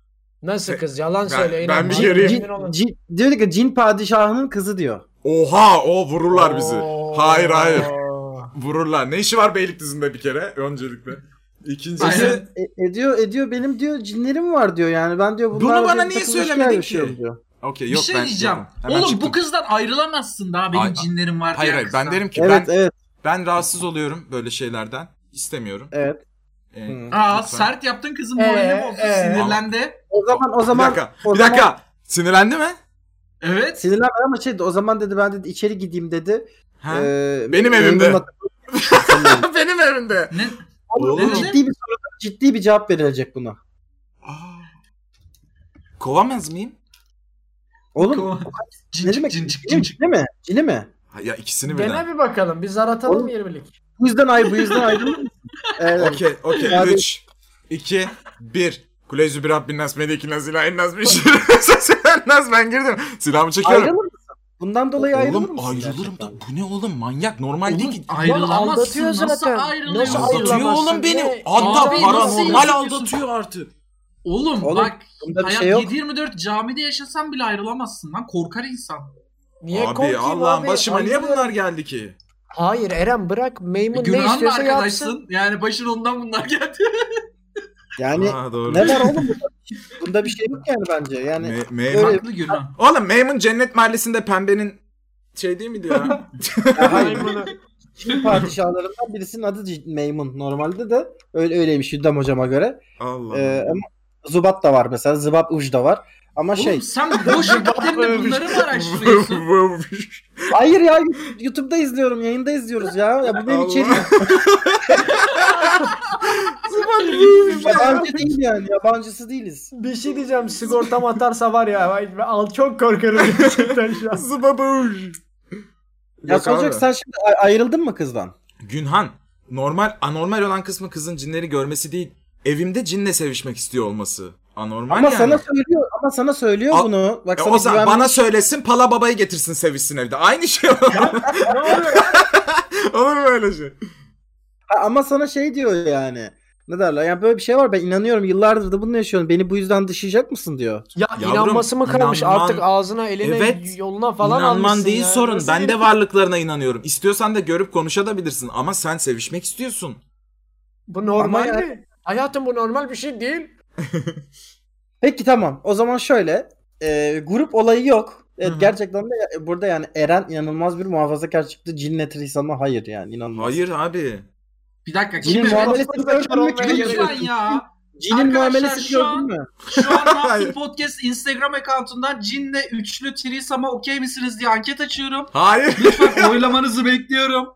Nasıl kız yalan
Ben-
söyle.
ben
inanma.
bir şey yarayayım.
Emin
Cin,
olun.
cin- diyor ki cin padişahının kızı diyor.
Oha o vururlar bizi.
Oo.
Hayır hayır. Vururlar. Ne işi var Beylikdüzü'nde bir kere öncelikle. İkincisi
Aynen.
E, ediyor ediyor benim diyor cinlerim var diyor yani. Ben diyor
Bunu
bunlarla
bana
diyor
niye
takılmışlar
söylemedin
yaşıyorum
ki?
diyor.
Okey
Bir
yok
şey
ben
diyeceğim.
Hemen
Oğlum
çıktım.
bu kızdan ayrılamazsın daha benim
Ay-
cinlerim var
Hayır
diyen
hayır ben
kızdan.
derim ki
Evet
ben
evet
ben rahatsız oluyorum böyle şeylerden. İstemiyorum.
evet. Hmm.
Ee,
Hı.
Aa
lütfen.
sert yaptın kızım
Ee,
moralini bozdun
ee.
sinirlendi.
O zaman o
bir
zaman
dakika.
o
bir
zaman-
dakika. Sinirlendi mi?
Evet.
Sinirlenmedi ama şey dedi, o zaman dedi ben dedi içeri gideyim dedi.
Ha?
Ee,
Benim evimde.
memnunla-
Benim evimde.
Ne?
Oğlum.
Ne dedi?
ciddi bir soruda ciddi bir cevap verilecek buna.
Aa. Kovamaz mıyım?
Oğlum
Cincik,
ne demek?
cincik,
Cini mi?
cincik.
Cini mi? Cini mi?
Ha, ya ikisini birden.
Dene bir bakalım. Biz aratalım
Oğlum.
20'lik.
Bu yüzden ay bu yüzden ayrılır mısın? Evet.
Okey
Abi-
okey. 3 2 1 Kuleyzü bir Rabbin nas meleki nas ilahin nas bir şeyin nas ben girdim. Silahımı
Ayrılır
çekiyorum.
mısın? Bundan dolayı ayrılır
Oğlum
mısın?
ayrılırım da
gerçekten?
bu ne oğlum manyak normal değil ki.
Ayrılamazsın.
aldatıyor
Nasıl
zaten.
ayrılıyorsun?
Nasıl
Aldatıyor
ayrılamazsın
oğlum beni.
ne?
Hatta
Abi, nasıl
paranormal
yapıyorsun?
aldatıyor artık.
Oğlum,
Oğlum,
bak
bunda bir
hayat
şey yok.
7-24 camide yaşasan bile ayrılamazsın lan. Korkar insan.
Niye
abi
korkayım
Allah'ım
abi?
başıma niye
Ayrılırım.
bunlar geldi ki?
Hayır Eren bırak
E,
Meymun ne
Günahın mı
istiyorsa
arkadaşsın?
yapsın.
Yani başın ondan bunlar geldi.
Yani
ha, doğru.
Hani ne var oğlum? bunda? Bunda bir şey yok yani bence. Yani
Me-
Öyle-
Meymun.
Haklı günah.
Oğlum Meymun Cennet Mahallesi'nde pembenin şey değil miydi ya?
hayır. Çin padişahlarından birisinin adı C- Meymun normalde de öyle öyleymiş Hüddam hocama göre.
Allah.
Ee, ama Zubat da var mesela. Zıbap Uj da var. Ama şey
Oğlum sen boş vakitlerinde bunları mı araştırıyorsun?
hayır ya YouTube'da izliyorum, yayında izliyoruz ya. Ya bu benim
Allah.
içeriğim. Yabancı değil yani. Yabancısı değiliz.
Bir şey diyeceğim sigortam atarsa var ya vay be, al çok korkarım gerçekten şu an.
Zıbabuş.
Ya soracak sen şimdi ay- ayrıldın mı kızdan?
Günhan normal anormal olan kısmı kızın cinleri görmesi değil. Evimde cinle sevişmek istiyor olması. Anormal
Ama
yani.
sana söylüyor ama sana söylüyor
Al-
bunu. Bak
Ya
sana
o zaman
güven-
bana söylesin pala babayı getirsin sevişsin evde. Aynı şey olur.
Ne oluyor?
olur mu öyle şey?
Ha, ama sana şey diyor yani. Ne derler? Yani böyle bir şey var ben inanıyorum. Yıllardır da bunu yaşıyorum. Beni bu yüzden dışlayacak mısın diyor.
Ya
Yavrum,
inanması mı kalmış
inanman-
artık ağzına eline
Evet.
yoluna falan
İnanman
almışsın
değil
ya.
sorun.
Nasıl
ben
bir-
de varlıklarına inanıyorum. İstiyorsan da görüp konuşabilirsin ama sen sevişmek istiyorsun.
Bu normal
Ama ya-
mi? Hayatım bu normal bir şey değil.
Peki tamam. O zaman şöyle. e, grup olayı yok. Evet,
Hı hı.
gerçekten de ya- burada yani Eren inanılmaz bir muhafazakar çıktı. Cinle Trisan'a hayır yani inanılmaz.
Hayır abi.
Bir dakika
Cinin
kim?
muamelesi gördün mü?
olmaya gerek
Lütfen
Cinin-
ya.
Cinin
Arkadaşlar
muamelesi
şu an-
gördün mü?
Şu an
Hayır.
Naptın Podcast Instagram account'undan cinle üçlü trisama okey misiniz diye anket açıyorum.
Hayır.
Lütfen oylamanızı bekliyorum.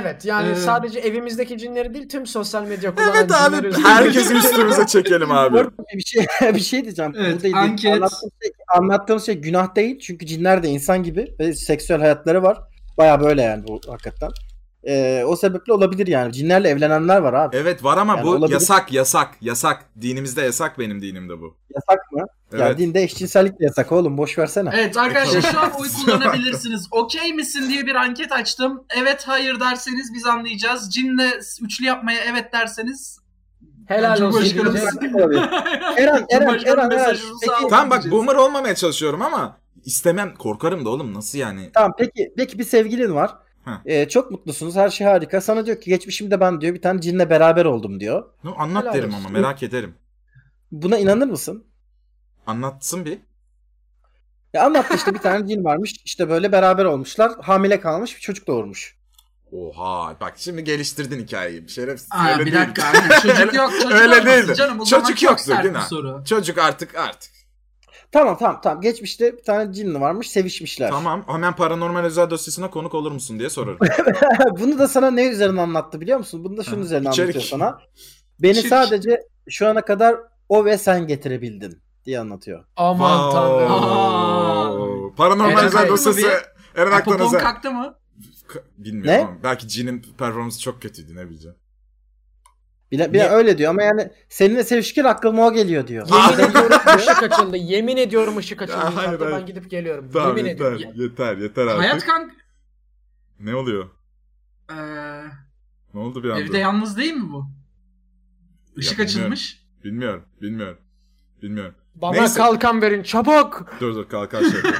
Evet yani
Evet.
sadece evimizdeki cinleri değil tüm sosyal medya kullanan
Ee, Evet
cinleri
abi
üzerinde-
herkesi üstümüze çekelim abi.
Dört- bir şey bir şey diyeceğim.
Evet,
Burada dediğim-
anket.
Anlattığım, şey, anlattığım şey günah değil. Çünkü cinler de insan gibi ve seksüel hayatları var. Baya böyle yani bu hakikaten. Ee, o sebeple olabilir yani. Cinlerle evlenenler var abi.
Evet var ama
Yani
bu
olabilir.
yasak yasak yasak. Dinimizde yasak benim dinimde bu.
Yasak mı?
Evet.
Ya dinde eşcinsellik de yasak oğlum. Boş versene.
Evet arkadaşlar şu an oy kullanabilirsiniz. Okey misin diye bir anket açtım. Evet hayır derseniz biz anlayacağız. Cinle üçlü yapmaya evet derseniz.
Helal olsun.
Cumhurbaşkanımız-
diyeceğiz.
Eren, Eren,
Cumhurbaşkanı
Eren, Eren.
mesajını
Peki,
sağ ol.
Tamam bak
Diyeceğiz.
boomer olmamaya çalışıyorum ama istemem korkarım da oğlum nasıl yani?
Tamam peki peki bir sevgilin var.
Heh.
Ee, çok mutlusunuz. Her şey harika. Sana diyor ki geçmişimde ben diyor bir tane cinle beraber oldum diyor.
No, anlat
Helal
derim
olsun.
ama merak ederim.
Buna inanır mısın?
Anlatsın bir.
Ya anlattı işte bir tane cin varmış. İşte böyle beraber olmuşlar. Hamile kalmış bir çocuk doğurmuş.
Oha bak şimdi geliştirdin hikayeyi. Şerefsiz.
Aa,
Öyle
bir
değil.
dakika. aynen. Çocuk yok. Çocuk
Öyle
olmasın
değildi.
Canım, o
Çocuk
zaman çok
yoktu,
sert
değil
bir
mi?
Soru.
Çocuk artık artık.
Tamam tamam tamam. Geçmişte bir tane cin varmış sevişmişler.
Tamam hemen paranormal özel dosyasına konuk olur musun diye sorarım.
Bunu da sana ne üzerine anlattı biliyor musun? Bunu da şunun
Ha,
üzerine
içerik.
anlatıyor sana. Beni
İçerik.
sadece şu ana kadar o ve sen getirebildin diye anlatıyor.
Aman tanrım.
Wow. Paranormal
Eren
özel
Aktan
dosyası. Eren Aktan
Popon
özel.
kalktı mı?
Ka- Bilmiyorum
Ne?
ama belki Jin'in performansı çok kötüydü ne bileceğim.
Bir, bir
Niye?
öyle diyor ama yani seninle sevişirken aklıma o geliyor diyor.
Yemin ediyorum ışık açıldı. Yemin ediyorum ışık açıldı.
Ya, hayır,
yukarıda
hayır.
ben gidip geliyorum.
Tamam
Yemin
yeter,
ediyorum.
yeter yeter artık.
Hayat kank...
Ne oluyor?
Ee,
Ne oldu bir anda?
evde yalnız değil mi bu? Işık
Ya, bilmiyorum.
açılmış.
Bilmiyorum bilmiyorum. Bilmiyorum.
Bana
Neyse.
kalkan verin çabuk.
Dur dur kalk kalk. şey yapalım.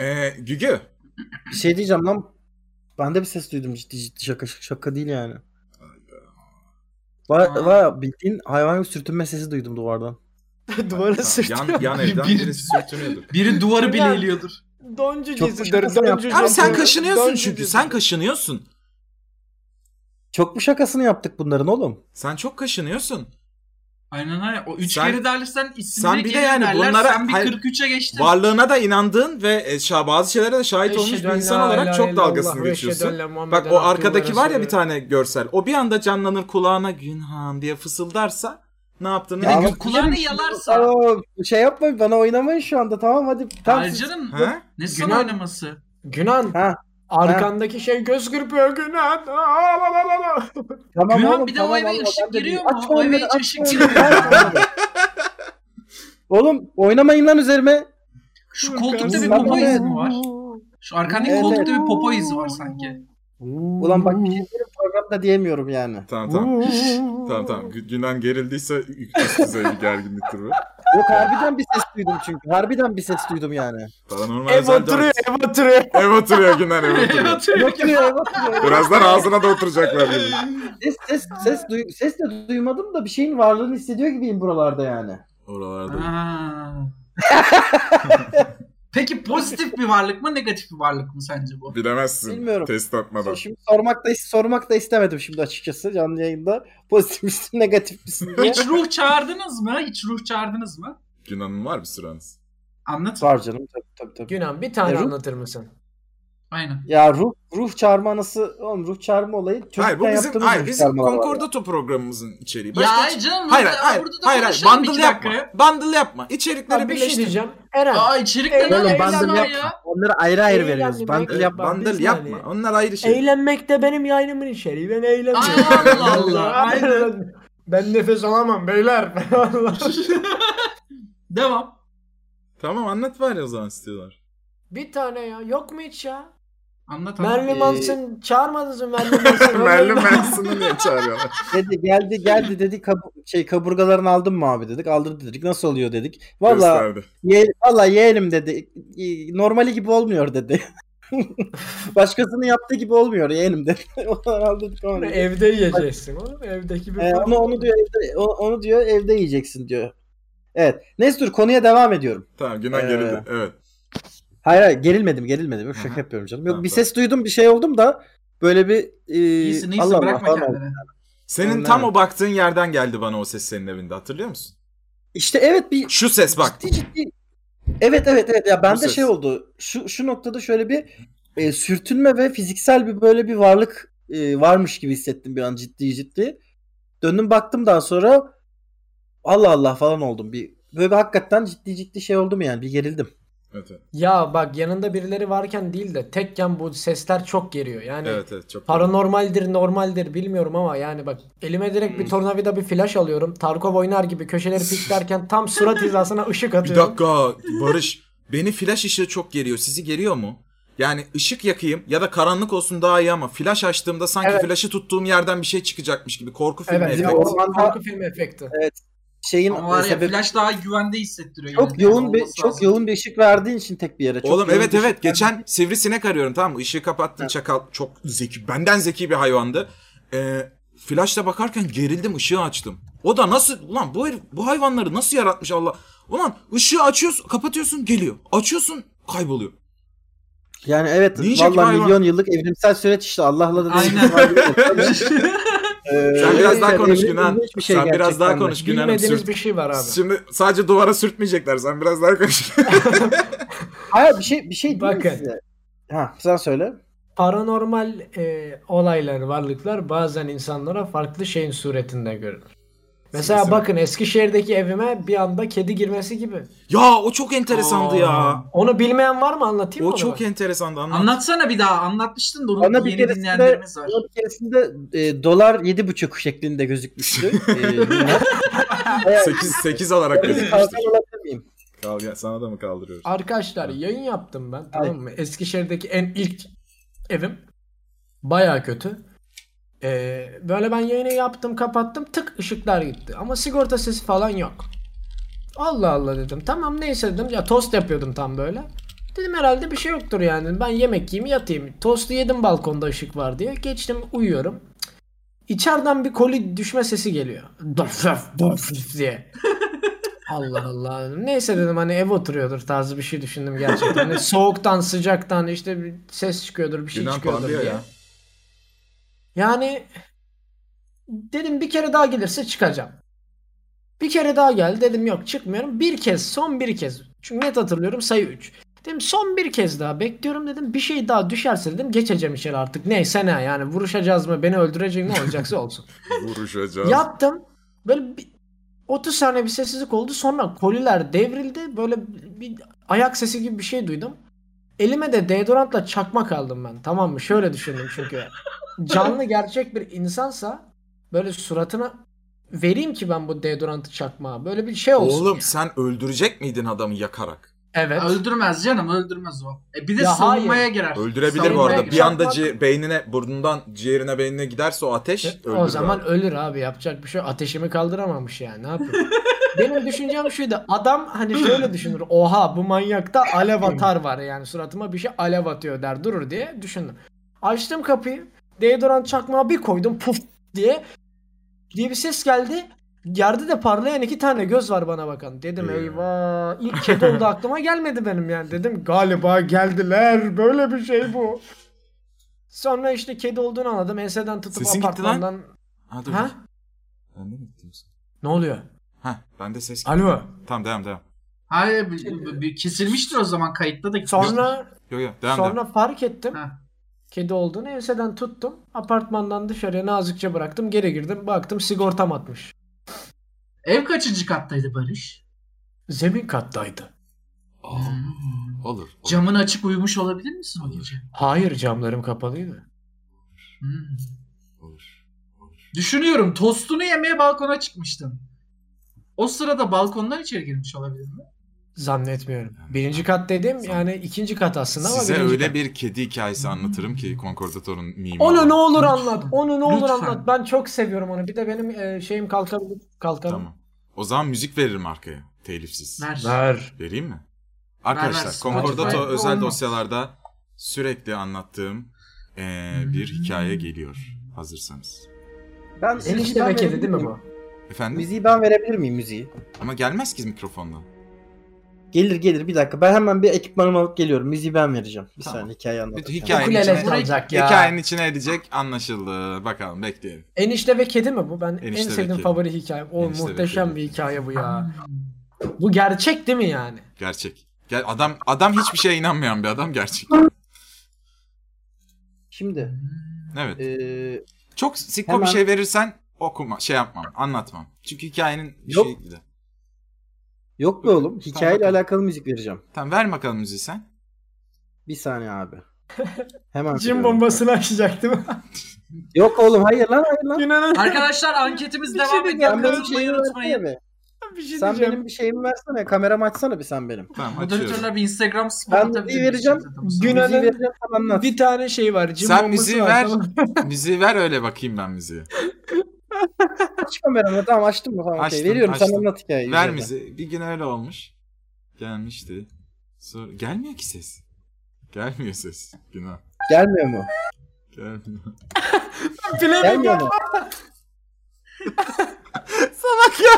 ee, Gügü.
Bir şey diyeceğim lan. Ben de bir ses duydum ciddi ciddi şaka şaka değil yani.
Aa.
Vay, vay bildiğin hayvan gibi sürtünme sesi duydum duvardan.
Duvara
Tamam,
sürtüyor.
Yan, yan evden
Bir-
birisi sürtünüyordur.
Biri duvarı
Bilmiyorum.
bile iliyordur.
Doncu
Çok
dizidir.
şakası
Doncu
yaptı.
Abi sen
dizidir,
kaşınıyorsun
doncu
çünkü
dizidir.
sen kaşınıyorsun.
Çok mu şakasını yaptık bunların oğlum?
Sen çok kaşınıyorsun.
Aynen aynen. O 3
Sen-
kere dersen ismini
sen bir de
geri
yani
derler.
bunlara-
sen bir
hayır.
43'e geçtin.
Varlığına da inandığın ve e, şa- bazı şeylere de şahit olmuş bir
Eşhedü en
insan
la
olarak
ilahe
çok
illallah
dalgasını
ve
geçiyorsun.
eşhedü en la
Bak o
Muhammeden
arkadaki
Abdullah
var ya bir
Resulü.
tane görsel. O bir anda canlanır kulağına Günhan diye fısıldarsa ne yaptığını
Bir de
Ya
Gü-
gül kulağını yalarsa.
Aa, şey yapmayın bana oynamayın şu anda tamam hadi. Tamam,
Hayır
siz-
canım.
Ha?
Ne sana
Günah-
oynaması?
Günan.
Ha.
Arkandaki şey göz kırpıyor Günan. Aa, la, la, la, la.
Tamam
Güven,
oğlum,
bir de
tamam
o eve
oğlum,
ışık
adam da
giriyor
diyor,
mu?
aç
O eve
oyunları,
hiç
aç
ışık
oyunları,
girmiyor.
aç oyunları. oğlum oynamayın lan üzerime.
Şu koltukta bir
Tamam,
popo
evet.
izi mi var? Şu arkandaki
Evet,
koltukta bir popo izi var sanki.
Ulan bak bir
Hmm.
şey diyeyim, programda diyemiyorum yani.
Tamam tamam. Tamam tamam. Gü- Günan gerildiyse üst düzey bir gerginliktir bu.
Yok harbiden bir ses duydum çünkü. Harbiden bir ses duydum yani.
Paranormal
Ev
özel
oturuyor,
dört-
ev oturuyor.
Ev oturuyor Günan ev oturuyor.
Hatırlıyor ki-
Bakıyor bakıyor.
Birazdan ağzına da oturacaklar gibi.
Ses ses ses duy ses de duymadım da bir şeyin varlığını hissediyor gibiyim buralarda yani.
Oralarda.
Aa. Peki pozitif bir varlık mı negatif bir varlık mı sence bu?
Bilemezsin.
Bilmiyorum.
Test atmadan.
Şey, Şimdi sormak da sormak da istemedim şimdi açıkçası canlı yayında. Pozitif misin, negatif misin diye.
Hiç ruh çağırdınız mı? Hiç ruh çağırdınız mı?
Günan'ın var bir sıranız.
Anlat.
Var canım tabii tabii tabii.
Günan bir tane
Erol?
anlatır mısın?
Aynen.
Ya ruh ruh çağırma anası oğlum ruh çağırma olayı çocukken
Hayır bu bizim,
yaptığımız
hayır,
ruh
bizim
çağırmalar var
Concordato programımızın içeriği.
ya
Başka hiç-
hayır canım.
Hayır
burada-
hayır
burada da
hayır, hayır.
konuşalım iki
bundle yapma.
dakika.
Bundle yapma. İçerikleri
Abi bir şey
birleştir.
diyeceğim. Eren.
Aa içerikler
ya.
Oğlum,
ne
Oğlum
bundle
bundle
bundle
yapma.
ya?
Onları ayrı ayrı
Eğlenme,
veriyoruz. Bundle
eğlenme.
Evet,
yapma.
Bak,
bundle
biz
yapma.
yani-
Onlar ayrı şey.
Eğlenmek de benim yayınımın içeriği. Ben eğlenmiyorum.
Ay, Allah Allah. Aynen.
Ben nefes alamam beyler. Allah.
Devam.
Tamam anlat bari o zaman istiyorlar.
bir tane ya. Yok mu hiç ya?
Anlat anlat.
Merlin
Ee,
Manson çağırmadınız mı Merlin Manson?
Merlin Manson'u niye çağırıyorlar?
Dedi geldi geldi dedi kabu- şey kaburgalarını aldın mı abi dedik. Aldırdı dedik. Nasıl oluyor dedik. Valla
Gösterdi.
Ye, valla yeğenim dedi. Normali gibi olmuyor dedi. Başkasının yaptığı gibi olmuyor yeğenim dedi. Ondan aldık onu.
Evde yiyeceksin oğlum. Evdeki bir
Ee, ama onu diyor evde, o- onu diyor evde yiyeceksin diyor. Evet. Neyse dur konuya devam ediyorum.
Tamam Günan
Ee,
gerildi. Evet.
Hayır hayır gerilmedim gerilmedim. Yok şaka
Aha.
yapıyorum canım.
Tamam,
Yok bir
tamam.
ses duydum bir şey oldum da böyle bir e,
İyisin iyisin
Allah Allah
bırakma
falan oldu.
kendini.
Senin
Onlar-
tam o baktığın yerden geldi bana o ses senin evinde hatırlıyor musun?
İşte evet bir
Şu ses bak.
Ciddi ciddi. Evet evet evet ya bende
ses.
şey oldu. Şu şu noktada şöyle bir e, sürtünme ve fiziksel bir böyle bir varlık e, varmış gibi hissettim bir an ciddi ciddi. Döndüm baktım daha sonra Allah Allah falan oldum. Bir böyle bir hakikaten ciddi ciddi şey oldum yani bir gerildim.
Evet evet.
Ya bak yanında birileri varken değil de tekken bu sesler çok geliyor. Yani
evet, evet çok
Paranormaldir, normaldir bilmiyorum ama yani bak elime direkt
Hmm.
bir tornavida bir flash alıyorum. Tarkov oynar gibi köşeleri piklerken tam surat hizasına ışık
Bir
atıyorum.
dakika Barış. Beni flash ışığı çok geriyor. Sizi geriyor mu? Yani ışık yakayım ya da karanlık olsun daha iyi ama flash açtığımda sanki
Evet.
flaşı tuttuğum yerden bir şey çıkacakmış gibi korku filmi
Evet,
efekti.
ya
efekti.
o korku filmi efekti.
Şeyin
Ama var
e,
ya
sebebi-
flash daha güvende hissettiriyor.
çok
yani.
yoğun bir
Olması
çok
lazım.
yoğun bir ışık verdiğin için tek bir yere. Çok
Oğlum
yoğun
evet
bir şey. ışık
evet geçen sivrisinek arıyorum tamam mı? Işığı kapattım çakal çok zeki benden zeki bir hayvandı. Ee, flashla bakarken gerildim ışığı açtım. O da nasıl ulan bu herif, bu hayvanları nasıl yaratmış Allah? Ulan ışığı açıyorsun kapatıyorsun geliyor. Açıyorsun kayboluyor.
Yani evet
Ninja gibi
valla
hayvan.
milyon yıllık evrimsel süreç işte Allah'la da
Aynen.
Ee,
Sen biraz daha
evet,
konuş
evrim
Günan.
ilginç bir şey
Sen biraz daha
gerçekten de.
konuş Günan.
Bilmediğiniz bir şey var abi.
Şimdi sadece duvara sürtmeyecekler. Sen biraz daha konuş.
Hayır bir şey bir şey değil mi
Bakın.
size? Ha sen söyle.
Paranormal e, olaylar, varlıklar bazen insanlara farklı şeyin suretinde görünür. Mesela
Sivrisine-
bakın Eskişehir'deki evime bir anda kedi girmesi gibi.
ya o çok enteresandı ya.
Onu bilmeyen var mı anlatayım mı?
O
onu
çok
bak?
enteresandı. Anlat.
Anlatsana bir daha. Anlatmıştın da onun
Bana bir
yeni
keresinde-
dinleyenlerimiz var.
Bir keresinde e, dolar yedi buçuk şeklinde gözükmüştü. E, bunlar.
8, 8 olarak gözükmüştü.
Kalkan olabilir miyim?
Kal- ya, Sana da mı kaldırıyoruz?
Arkadaşlar yayın yaptım ben tamam mı? Eskişehir'deki en ilk evim. Baya kötü. Ee, böyle ben yayını yaptım kapattım tık ışıklar gitti. Ama sigorta sesi falan yok. Allah Allah dedim. Tamam neyse dedim. Ya tost yapıyordum tam böyle. Dedim herhalde bir şey yoktur yani. Ben yemek yiyeyim yatayım. Tostu yedim balkonda ışık var diye. Geçtim uyuyorum. İçeriden bir koli düşme sesi geliyor. Dofraf dofraf diye. Allah Allah. Neyse dedim hani ev oturuyordur tarzı bir şey düşündüm gerçekten. Hani soğuktan sıcaktan işte bir ses çıkıyordur bir şey
Günan
çıkıyordur
parlıyor
diye.
ya.
Yani dedim bir kere daha gelirse çıkacağım. Bir kere daha geldi dedim yok çıkmıyorum. Bir kez son bir kez. Çünkü net hatırlıyorum sayı 3. Dedim son bir kez daha bekliyorum dedim. Bir şey daha düşerse dedim geçeceğim içeri artık. Neyse ne yani vuruşacağız mı beni öldürecek ne olacaksa olsun.
Vuruşacağız.
Yaptım. Böyle bir- 30 saniye bir sessizlik oldu. Sonra koliler devrildi. Böyle bir bir ayak sesi gibi bir şey duydum. Elime de deodorantla çakmak aldım ben. Tamam mı? Şöyle düşündüm çünkü. Canlı gerçek bir insansa böyle suratına vereyim ki ben bu deodorantı çakmağa. Böyle bir şey olsun.
Oğlum
ya.
sen öldürecek miydin adamı yakarak?
Evet.
Öldürmez canım öldürmez o. E bir de
Ya
savunmaya
hayır.
girer.
Öldürebilir
Savunmaya
bu arada.
girer.
Bir anda
Çakmak-
ci- beynine, burnundan ciğerine beynine giderse o ateş öldürür.
E, o zaman
abi.
ölür abi yapacak bir şey yok. ateşimi kaldıramamış yani ne yapayım benim düşüncem şuydu adam hani şöyle düşünür oha bu manyakta alev atar var yani suratıma bir şey alev atıyor der durur diye düşündüm açtım kapıyı deodorant çakmağı bir koydum puf diye diye bir ses geldi Yerde de parlayan iki tane göz var bana bakan. Dedim
Ee.
eyvah ilk kedi oldu aklıma gelmedi benim yani. Dedim galiba geldiler böyle bir şey bu. Sonra işte kedi olduğunu anladım. Enseden tutup
Sesin gitti lan.
apartmandan
Ha dur.
Ha?
Ben de mi gittim sen?
Ne oluyor?
Ha ben de ses geldi.
Alo.
Tamam devam devam.
Hayır bir- bir- bir- kesilmiştir o zaman kayıtta da.
Sonra
Yok yok devam
sonra
devam.
fark ettim.
Ha.
Kedi olduğunu enseden tuttum. Apartmandan dışarıya nazikçe bıraktım. Geri girdim. Baktım sigortam atmış.
Ev kaçıncı kattaydı Barış?
Zemin kattaydı.
Aa, olur. olur.
Hmm. Camın açık uyumuş olabilir misin o gece?
Hayır camlarım kapalıydı.
Hmm.
Olur. olur.
Düşünüyorum tostunu yemeye balkona çıkmıştın. O sırada balkondan içeri girmiş olabilir mi?
Zannetmiyorum. Birinci kat dedim yani ikinci kat aslında ama
Size
birinci
öyle
kat.
bir kedi hikayesi anlatırım ki Concordator'un mimi.
Onu ne olur
Lütfen.
anlat. Onu ne olur
Lütfen.
anlat. Ben çok seviyorum onu. Bir de benim e, şeyim kalkabilir. Kalkar.
Tamam. O zaman müzik veririm arkaya. Telifsiz.
Ver.
Ver.
Vereyim mi? Arkadaşlar
ver.
Concordato
Spotify'da
özel
olmaz.
dosyalarda sürekli anlattığım eee, bir hikaye geliyor. Hazırsanız.
Ben
Sen
müziği
işte
ben
be kedi
verebilir
değil mi
miyim?
bu?
Efendim?
Müziği ben verebilir miyim müziği?
Ama gelmez ki mikrofonla.
Gelir gelir bir dakika. Ben hemen bir ekipmanımı alıp geliyorum. Müziği ben vereceğim. Bir
Tamam.
saniye hikaye anlatacağım.
Hikayenin
Ukulele
içine,
çalacak ya.
hikayenin içine edecek anlaşıldı. Bakalım bekleyelim.
Enişte ve kedi mi bu? Ben
Enişte
en
ve
sevdiğim
kedi.
favori hikayem. O
Enişte ve
muhteşem
kedi.
bir hikaye bu ya. Bu gerçek değil mi yani?
Gerçek. Gel adam adam hiçbir şeye inanmayan bir adam gerçek.
Şimdi e,
Evet.
eee,
Çok sikko
hemen-
bir şey verirsen okuma, şey yapmam, anlatmam. Çünkü hikayenin bir
Yok.
şey gibi.
yok be oğlum hikayeyle
Tamam.
alakalı müzik vereceğim.
Tamam ver bakalım müziği sen.
Bir saniye abi. Hemen.
Cim
söylüyorum.
bombasını açacak değil mi?
Yok oğlum hayır lan hayır lan.
İnanın
Arkadaşlar anketimiz
Bir şey
devam
diyeceğim,
Sen
ediyor.
ben
benim
Katılmayı
şeyimi
unutmayın.
versene.
bir şey
Sen
diyeceğim.
benim bir şeyimi versene. Kameramı açsana bir sen benim.
Tamam açıyorum.
Moderatörler bir Instagram spam
Ben
atabilir
müziği
miyiz?
vereceğim.
Günah-
Müziği
İnanın-
vereceğim sen anlat.
Bir tane şey var. Cim
Sen
bombası
müziği
var,
ver.
tamam.
müziği ver öyle bakayım ben müziği.
Aç kameramı tamam açtım mı? Tamam, okey.
Açtım,
Veriyorum
açtım.
sen anlat hikayeyi.
Ver
bize.
müziği. Bir gün öyle olmuş. Gelmişti. Sonra gelmiyor ki ses. Gelmiyor ses. Günah.
Gelmiyor mu?
Gelmiyor.
Bilemem
Gelmiyor
ya.
mu?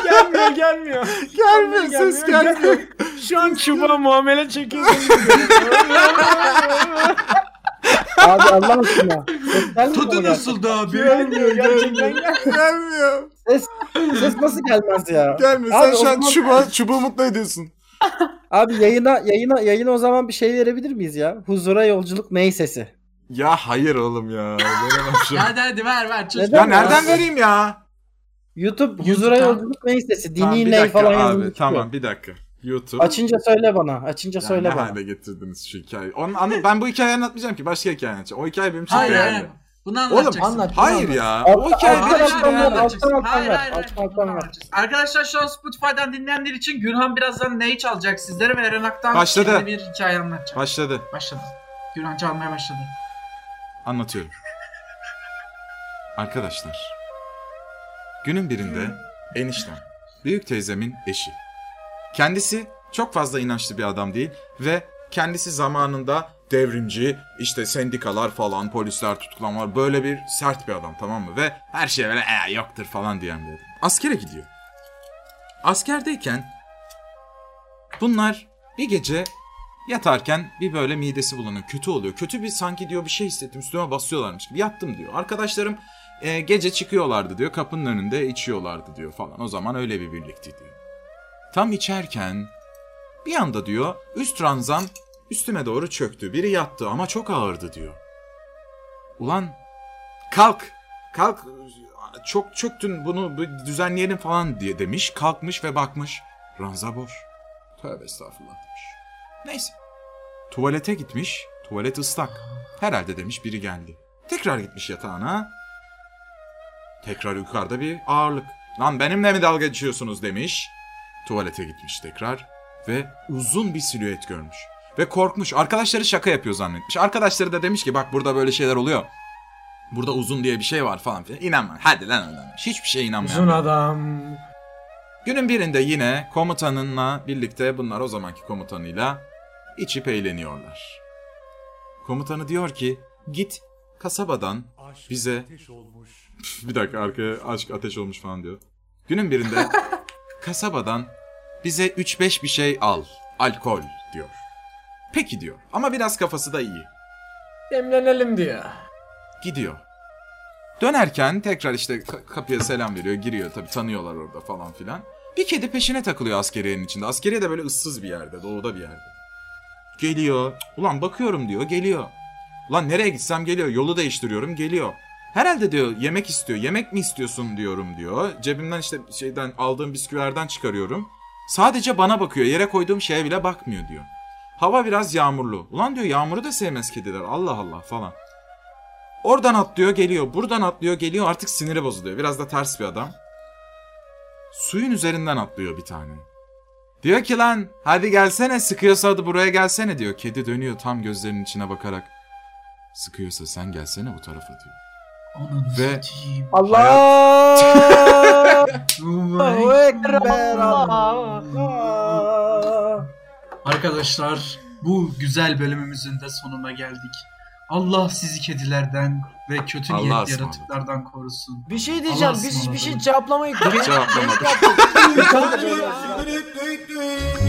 Gelmiyor gelmiyor.
Gelmiyor ses gelmiyor.
Şu an çubuğa muamele çekiyorsun.
Abi Allah aşkına. Ses gelmiyor mu
Tadı
ya?
nasıl da abi?
gelmiyor gerçekten gelmiyor.
gelmiyor.
Ses nasıl gelmez ya?
Gelmiyor.
Abi
Sen
o
şu an
zaman-
çubuğa, çubuğu mutlu ediyorsun.
Abi yayına yayına yayına o zaman bir şey verebilir miyiz ya? Huzura yolculuk ney sesi?
Ya hayır oğlum ya. Veremem şu an.
Hadi hadi ver ver. Çık.
Neden
ya nereden vereyim ya?
YouTube
YouTube'dan-
huzura yolculuk ney sesi? Dini
Tamam, bir
ney
dakika
falan
abi.
yazılmış. şey.
Tamam bir dakika. YouTube.
Açınca söyle bana. Açınca
Ya
söyle
ne
bana.
hale getirdiniz şu hikayeyi. Onun, anı, ben bu hikayeyi anlatmayacağım ki. Başka hikaye anlatacağım. O hikaye benim için
Hayır
değerli.
hayır. Bunu
Oğlum
anlatacaksın.
anlat. bunu
hayır ya. O
Alt-
hikaye
alt-
benim
Hayır,
için
Alttan ver,
hayır,
değerli.
alttan
hayır,
alttan
hayır,
ver,
hayır,
alttan
hayır.
alttan ver.
Arkadaşlar şu an Spotify'dan dinleyenler için Gürhan birazdan neyi çalacak sizlere ve Eren Aktan
Başladı.
yeni bir hikaye anlatacak.
Başladı.
başladı. Gürhan çalmaya başladı.
Anlatıyorum. Arkadaşlar. Günün birinde eniştem, büyük teyzemin eşi. Kendisi çok fazla inançlı bir adam değil ve kendisi zamanında devrimci, işte sendikalar falan, polisler, tutuklamalar böyle bir sert bir adam tamam mı? Ve her şeye böyle "Ee, yoktur falan diyen bir adam. Askere gidiyor. Askerdeyken bunlar bir gece Yatarken bir böyle midesi bulanıyor. Kötü oluyor. Kötü bir sanki diyor bir şey hissettim. Üstüme basıyorlarmış gibi. Yattım diyor. Arkadaşlarım e, gece çıkıyorlardı diyor. Kapının önünde içiyorlardı diyor falan. O zaman öyle bir birlikti diyor. Tam içerken bir anda diyor üst ranzam üstüme doğru çöktü. Biri yattı ama çok ağırdı diyor. Ulan kalk kalk çok çöktün bunu bir düzenleyelim falan diye demiş. Kalkmış ve bakmış. Ranza boş. Tövbe estağfurullah demiş. Neyse. Tuvalete gitmiş. Tuvalet ıslak. Herhalde demiş biri geldi. Tekrar gitmiş yatağına. Tekrar yukarıda bir ağırlık. Lan benimle mi dalga geçiyorsunuz demiş. Tuvalete gitmiş tekrar ve uzun bir silüet görmüş. Ve korkmuş. Arkadaşları şaka yapıyor zannetmiş. Arkadaşları da demiş ki bak burada böyle şeyler oluyor. Burada uzun diye bir şey var falan filan. İnanma. Hadi lan oradan. Hiçbir şeye inanmayan.
Uzun
bir
adam.
Günün birinde yine komutanınla birlikte bunlar o zamanki komutanıyla içip eğleniyorlar. Komutanı diyor ki git kasabadan bize bir dakika arkaya aşk ateş olmuş falan diyor. Günün birinde kasabadan bize 3-5 bir şey al alkol diyor. Peki diyor ama biraz kafası da iyi.
Demlenelim diyor.
Gidiyor. Dönerken tekrar işte ka- kapıya selam veriyor. Giriyor tabii tanıyorlar orada falan filan. Bir kedi peşine takılıyor askeriyenin içinde. Askeriye de böyle ıssız bir yerde, doğuda bir yerde. Geliyor. Ulan bakıyorum diyor, geliyor. Ulan nereye gitsem geliyor. Yolu değiştiriyorum, geliyor. Herhalde diyor yemek istiyor. Yemek mi istiyorsun diyorum diyor. Cebimden işte şeyden aldığım bisküvilerden çıkarıyorum. Sadece bana bakıyor. Yere koyduğum şeye bile bakmıyor diyor. Hava biraz yağmurlu. Ulan diyor yağmuru da sevmez kediler. Allah Allah falan. Oradan atlıyor geliyor. Buradan atlıyor geliyor. Artık siniri bozuluyor. Biraz da ters bir adam. Suyun üzerinden atlıyor bir tane. Diyor ki lan hadi gelsene sıkıyorsa hadi buraya gelsene diyor. Kedi dönüyor tam gözlerinin içine bakarak. Sıkıyorsa sen gelsene bu tarafa diyor.
Ananı
Ve-
satayım.
Allah!
Vay.
Allahu Ekber
Allah.
Allah!
Arkadaşlar bu güzel bölümümüzün de sonuna geldik. Allah sizi kedilerden ve kötü
Allah'a
niyetli
ısmarladık.
yaratıklardan korusun.
Bir şey diyeceğim.
Allah
Biz bir şey
ısmarladık.
cevaplamayı
Cevaplamadı.
Cevaplamayı-